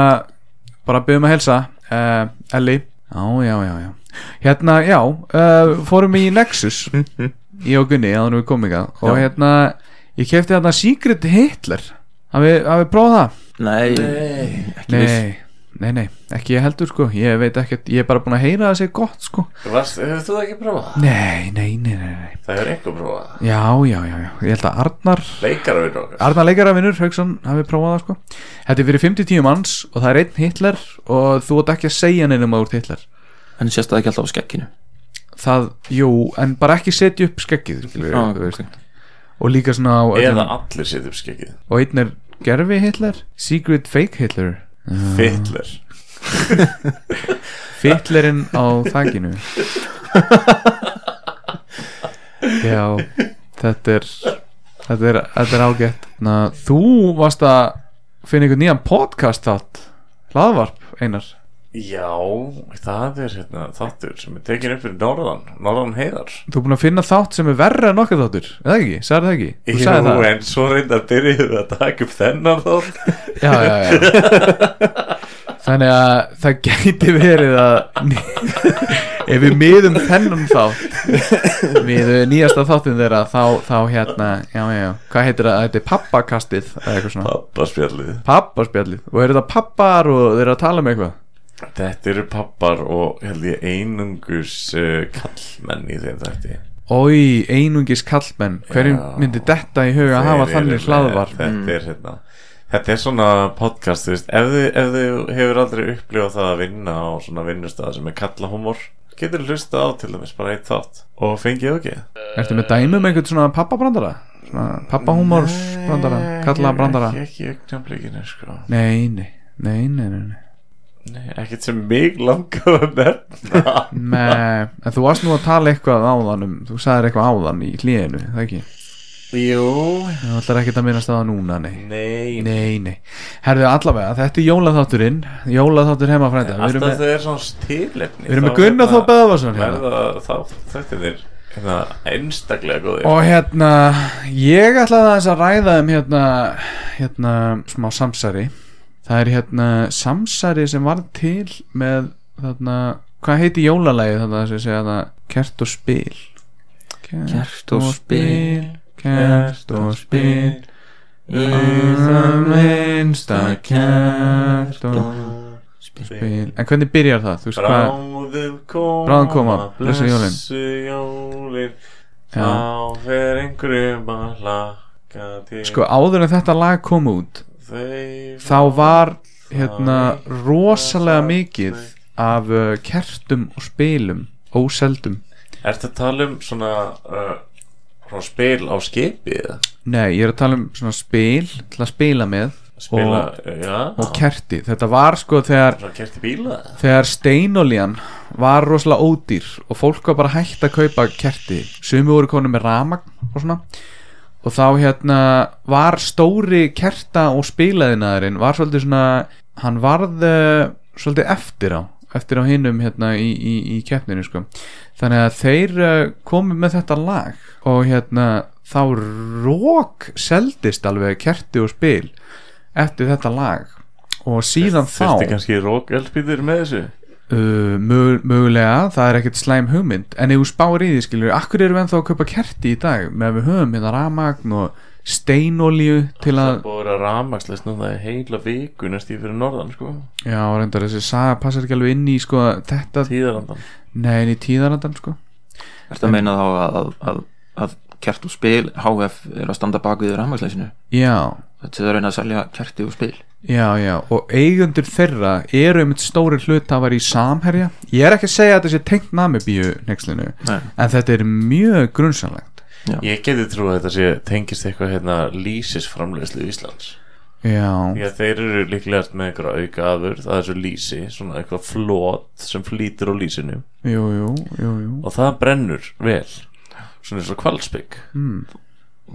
Speaker 3: bara byrjum að helsa uh, Elli já, já, já, já hérna, já, uh, fórum í <laughs> Nexus í ogunni að hann við komum ykkar og hérna, ég kefti hérna Secret Hitler hafið hafið prófað það?
Speaker 4: Nei, ekki viss
Speaker 3: Nei, nei, nei, ekki ég heldur sko ég veit ekkert, ég er bara búin að heyra það sér gott sko
Speaker 2: Varst, hefur þú það ekki prófað?
Speaker 3: nei, nei, nei, nei, nei.
Speaker 2: Það hefur einhver prófað
Speaker 3: já, já, já, já, ég held að Arnar
Speaker 2: Leikarvinn okkar
Speaker 3: Arnar leikaravinnur, Hauksson, hafið prófað það sko Þetta er fyrir 50-10 manns og það er einn Hitler og þú átt ekki að segja neinum að úr Hitler
Speaker 4: En sést það ekki alltaf á skekkinu
Speaker 3: Það, jú, en bara ekki setja upp skeggið skilur,
Speaker 4: Já,
Speaker 3: þú veist. Og líka svona á öllum-
Speaker 2: Eða allir setja upp skekkið
Speaker 3: Og einn er gerfi Hitler, secret fake Hitler
Speaker 2: Fittler
Speaker 3: Hitlerinn á þakinu Já, þetta er Þetta er, þetta er ágætt Na, Þú varst að finna einhvern nýjan podcast þátt Hlaðvarp, Einar
Speaker 2: Já, það er hérna þáttur sem er tekin upp fyrir Norðan Norðan heiðar
Speaker 3: Þú er búin að finna þátt sem er verra en okkar þáttur Eða ekki, sagði það ekki Þú
Speaker 2: Jú,
Speaker 3: sagði það
Speaker 2: en svo reyndar byrjuðu að taka upp þennan þátt <laughs>
Speaker 3: Já, já, já Þannig að það gæti verið að ef við miðum þennan þá við nýjasta þáttum þeirra þá, þá hérna, já, já, já, hvað heitir það þetta er pappakastið eða eitthvað svona
Speaker 2: Pappaspjallið
Speaker 3: pappaspjallið og eru þetta pappar og þeir eru að tala um eitthvað
Speaker 2: Þetta eru pappar og held ég einungus uh, kallmenn í þeim þætti
Speaker 3: Ói, einungis kallmenn, hverjum
Speaker 2: Já.
Speaker 3: myndi detta í huga að hafa
Speaker 2: Þeir eru
Speaker 3: þannig
Speaker 2: með-
Speaker 3: hlaðvarp
Speaker 2: Þetta er hérna Þetta er svona podcast, þú veist Ef þið, ef þið hefur aldrei upplifað það að vinna á svona vinnustæða sem er kallahumor getur hlusta á til dæmis bara eitt þátt og fengið ekki
Speaker 3: Ertu með dæmi um einhvern svona pappabrandara? Svona pappahúmorsbrandara, kallabrandara
Speaker 2: Ekki, ekki augnablikinu, sko
Speaker 3: Nei, nei, nei, nei, nei, nei.
Speaker 2: Nei, ekkert sem mig langar að nefna
Speaker 3: <laughs> Nei, en þú varst nú að tala eitthvað áðan um, þú sagðir eitthvað áðan í hlíðinu, það ekki?
Speaker 2: Jú
Speaker 3: Þú ætlar ekki að minnast á það núna, nei.
Speaker 2: Nei,
Speaker 3: Nei, nei. Herðu allavega, þetta er jólaþátturinn, jólaþáttur heima frænda. Við
Speaker 2: Alltaf
Speaker 3: erum með,
Speaker 2: þau er svona tilefni
Speaker 3: við erum með
Speaker 2: þá hérna
Speaker 3: Gunnar Þór Böðvarsson hérna.
Speaker 2: verða þá þetta er hérna, einstaklega góðir
Speaker 3: Og hérna, ég ætlaði aðeins að ræða um hérna, hérna, smá samsari. Það er hérna samsari sem varð til með, þarna, hvað heiti jólalagið þarna sem segja þarna, kert og spil.
Speaker 4: Kert og spil,
Speaker 3: kert og spil. Í
Speaker 4: Ah.
Speaker 3: það minnsta kert og spil En hvernig byrjar það? Þú veist hvað
Speaker 2: Bráðum koma
Speaker 3: Bráðum koma, blessuð jólin.
Speaker 2: blessuð jólin
Speaker 3: Já.
Speaker 2: Þá fer einhverjum að laka til
Speaker 3: Sko áður en þetta lag kom út
Speaker 2: Þau
Speaker 3: Þá var hérna rosalega mikið Af uh, kertum og spilum Óseldum
Speaker 2: Ertu að tala um svona uh, svona spil á skipi eða?
Speaker 3: Nei, ég er að tala um svona spil Til að spila með
Speaker 2: Spila, uh,
Speaker 3: Og-
Speaker 2: já
Speaker 3: og kerti Þetta var sko þegar
Speaker 2: Svona kerti bíla
Speaker 3: Þegar steinolían var rosalega ódýr og fólk var bara hægt að kaupa kerti sumi voru konu með ramagn og svona og þá hérna var stóri kerta og spilaðinaðurinn var svolítið svona hann varð eh, svolítið eftir á eftir á hinnum hérna í, í, í keppninu sko þannig að þeir eh, komu með þetta lag og hérna þá rók seldist alveg kerti og spil eftir þetta lag og síðan þá
Speaker 2: Þurfti kannski rókelspýtur með þessu
Speaker 3: Uh, mög- mögulega, það er ekkert slæm hugmynd en ef þú spáir í því skilur akkur erum við ennþá að kaupa kerti í dag með við höfum hérna ramagn og steinolíu til
Speaker 2: Það
Speaker 3: að,
Speaker 2: er búið að vera rafmagnslaust núna í heila viku næst í fyrir norðan sko
Speaker 3: já reyndar þessi saga passar ekki alveg inn í sko þetta,
Speaker 2: Tíðarandan
Speaker 3: nei en í tíðarandan sko
Speaker 4: Ertu að meina þá að, að, að, að kert og spil HF er að standa bak við rafmagnsleysinu
Speaker 3: já,
Speaker 4: Þetta er að reyna að selja kerti og spil
Speaker 3: Já, já, og eigendur þeirra eru einmitt stóri hlutafar í samherja Ég er ekki að segja að þetta sé tengt namibíu nexlinu,
Speaker 4: Nei.
Speaker 3: en þetta er mjög grunnsanlegt
Speaker 2: Ég geti trú að þetta sé tengist eitthvað hérna lýsisframleiðslu Íslands
Speaker 3: Já,
Speaker 2: Já, þeir eru líklegast með eitthvað auka afur það er svo lýsi, svona eitthvað flót sem flýtur á lýsinu
Speaker 3: jú, jú, jú, jú
Speaker 2: og það brennur vel svona eins og kvalsbygg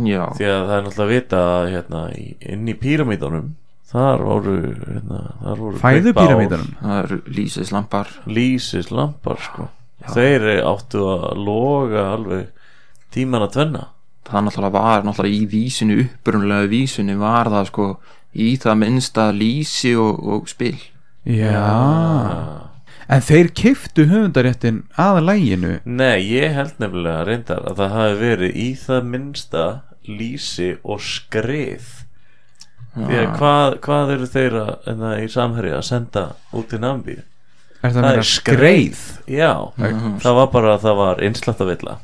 Speaker 4: Já,
Speaker 2: því að það er náttúrulega að vita að hérna, í- inn í píramídunum þar voru, hérna, þar voru
Speaker 3: Fæðu
Speaker 2: kveikt bál,
Speaker 3: píramídanum
Speaker 4: það eru lýsislampar
Speaker 2: lýsislampar sko. þeir áttu að loga alveg tíman að tvenna
Speaker 4: það náttúrulega var náttúrulega í vísinu upprunlega vísinu var það sko í það minnsta lýsi og, og spil
Speaker 3: Já, En þeir kiftu höfundaréttin að læginu
Speaker 2: Nei, ég held nefnilega reyndar að það hafi verið í það minnsta lýsi og skrið því að hvað, hvað eru þeir að hérna, í samherja að senda út í Nambi
Speaker 3: Er það
Speaker 2: Það
Speaker 3: meina
Speaker 2: er
Speaker 3: skreið
Speaker 2: Já, það var bara að það var einslattavilla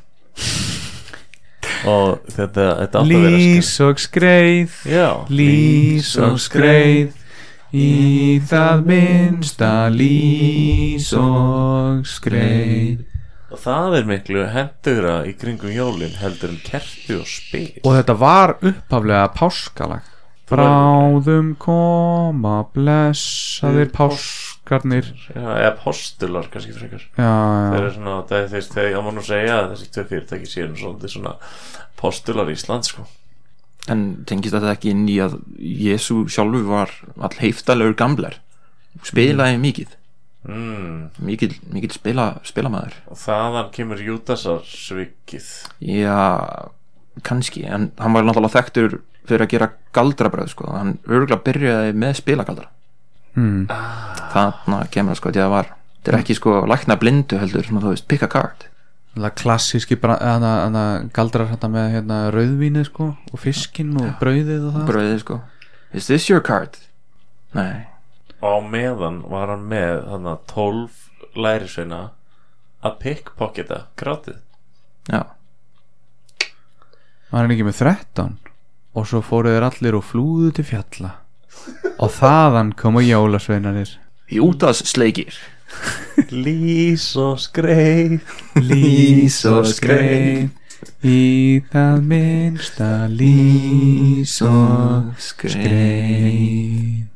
Speaker 2: og þetta, þetta átt að vera
Speaker 3: Lís og skreið
Speaker 2: skrið Já,
Speaker 3: Lís og skreið Í það minnsta lís og skreið
Speaker 2: og það er miklu hendugra í kringum jólin heldur en kerti og spil
Speaker 3: Og þetta var upphaflega páskalag Bráðum koma blessaðir páskarnir
Speaker 2: Já, eða postular kannski frekar
Speaker 3: Já,
Speaker 2: þeir
Speaker 3: já,
Speaker 2: eru svona, þeir, þeir, þeir, ég má nú segja að þessi tvö fyrirtæki séu nú svolítið svona postular Ísland sko
Speaker 4: en tengist þetta ekki inn í að Jésu sjálfur var all heiftalegur gamlar og spilaði mikið
Speaker 2: mm,
Speaker 4: mikið, mikið spila, spilamaður
Speaker 2: og þaðan kemur Júdasar svikið
Speaker 4: já, kannski en hann var náttúrulega þekktur fyrir að gera galdrabröð sko, hann örgulega byrjaði með spilagaldra
Speaker 3: mm.
Speaker 4: þarna kemur það sko því að það var þetta er ekki sko lækna blindu heldur svona þú veist pick a card
Speaker 3: Það klassíski bra- hana, hana, galdrar þetta með hérna, rauðvínið sko og fiskinn og brauðið og það
Speaker 4: bröðið sko is this your card? nei
Speaker 2: á meðan var hann með þannig að 12 lærisveina að pickpocketa grátið
Speaker 4: já
Speaker 3: Var hann ekki með 13 og svo fóru þeir allir og flúðu til fjalla og þaðan komu jólasveinanir
Speaker 4: Júdas sleikir
Speaker 2: lís og skreið
Speaker 3: Lís og skreið Í það minnsta lís og skreið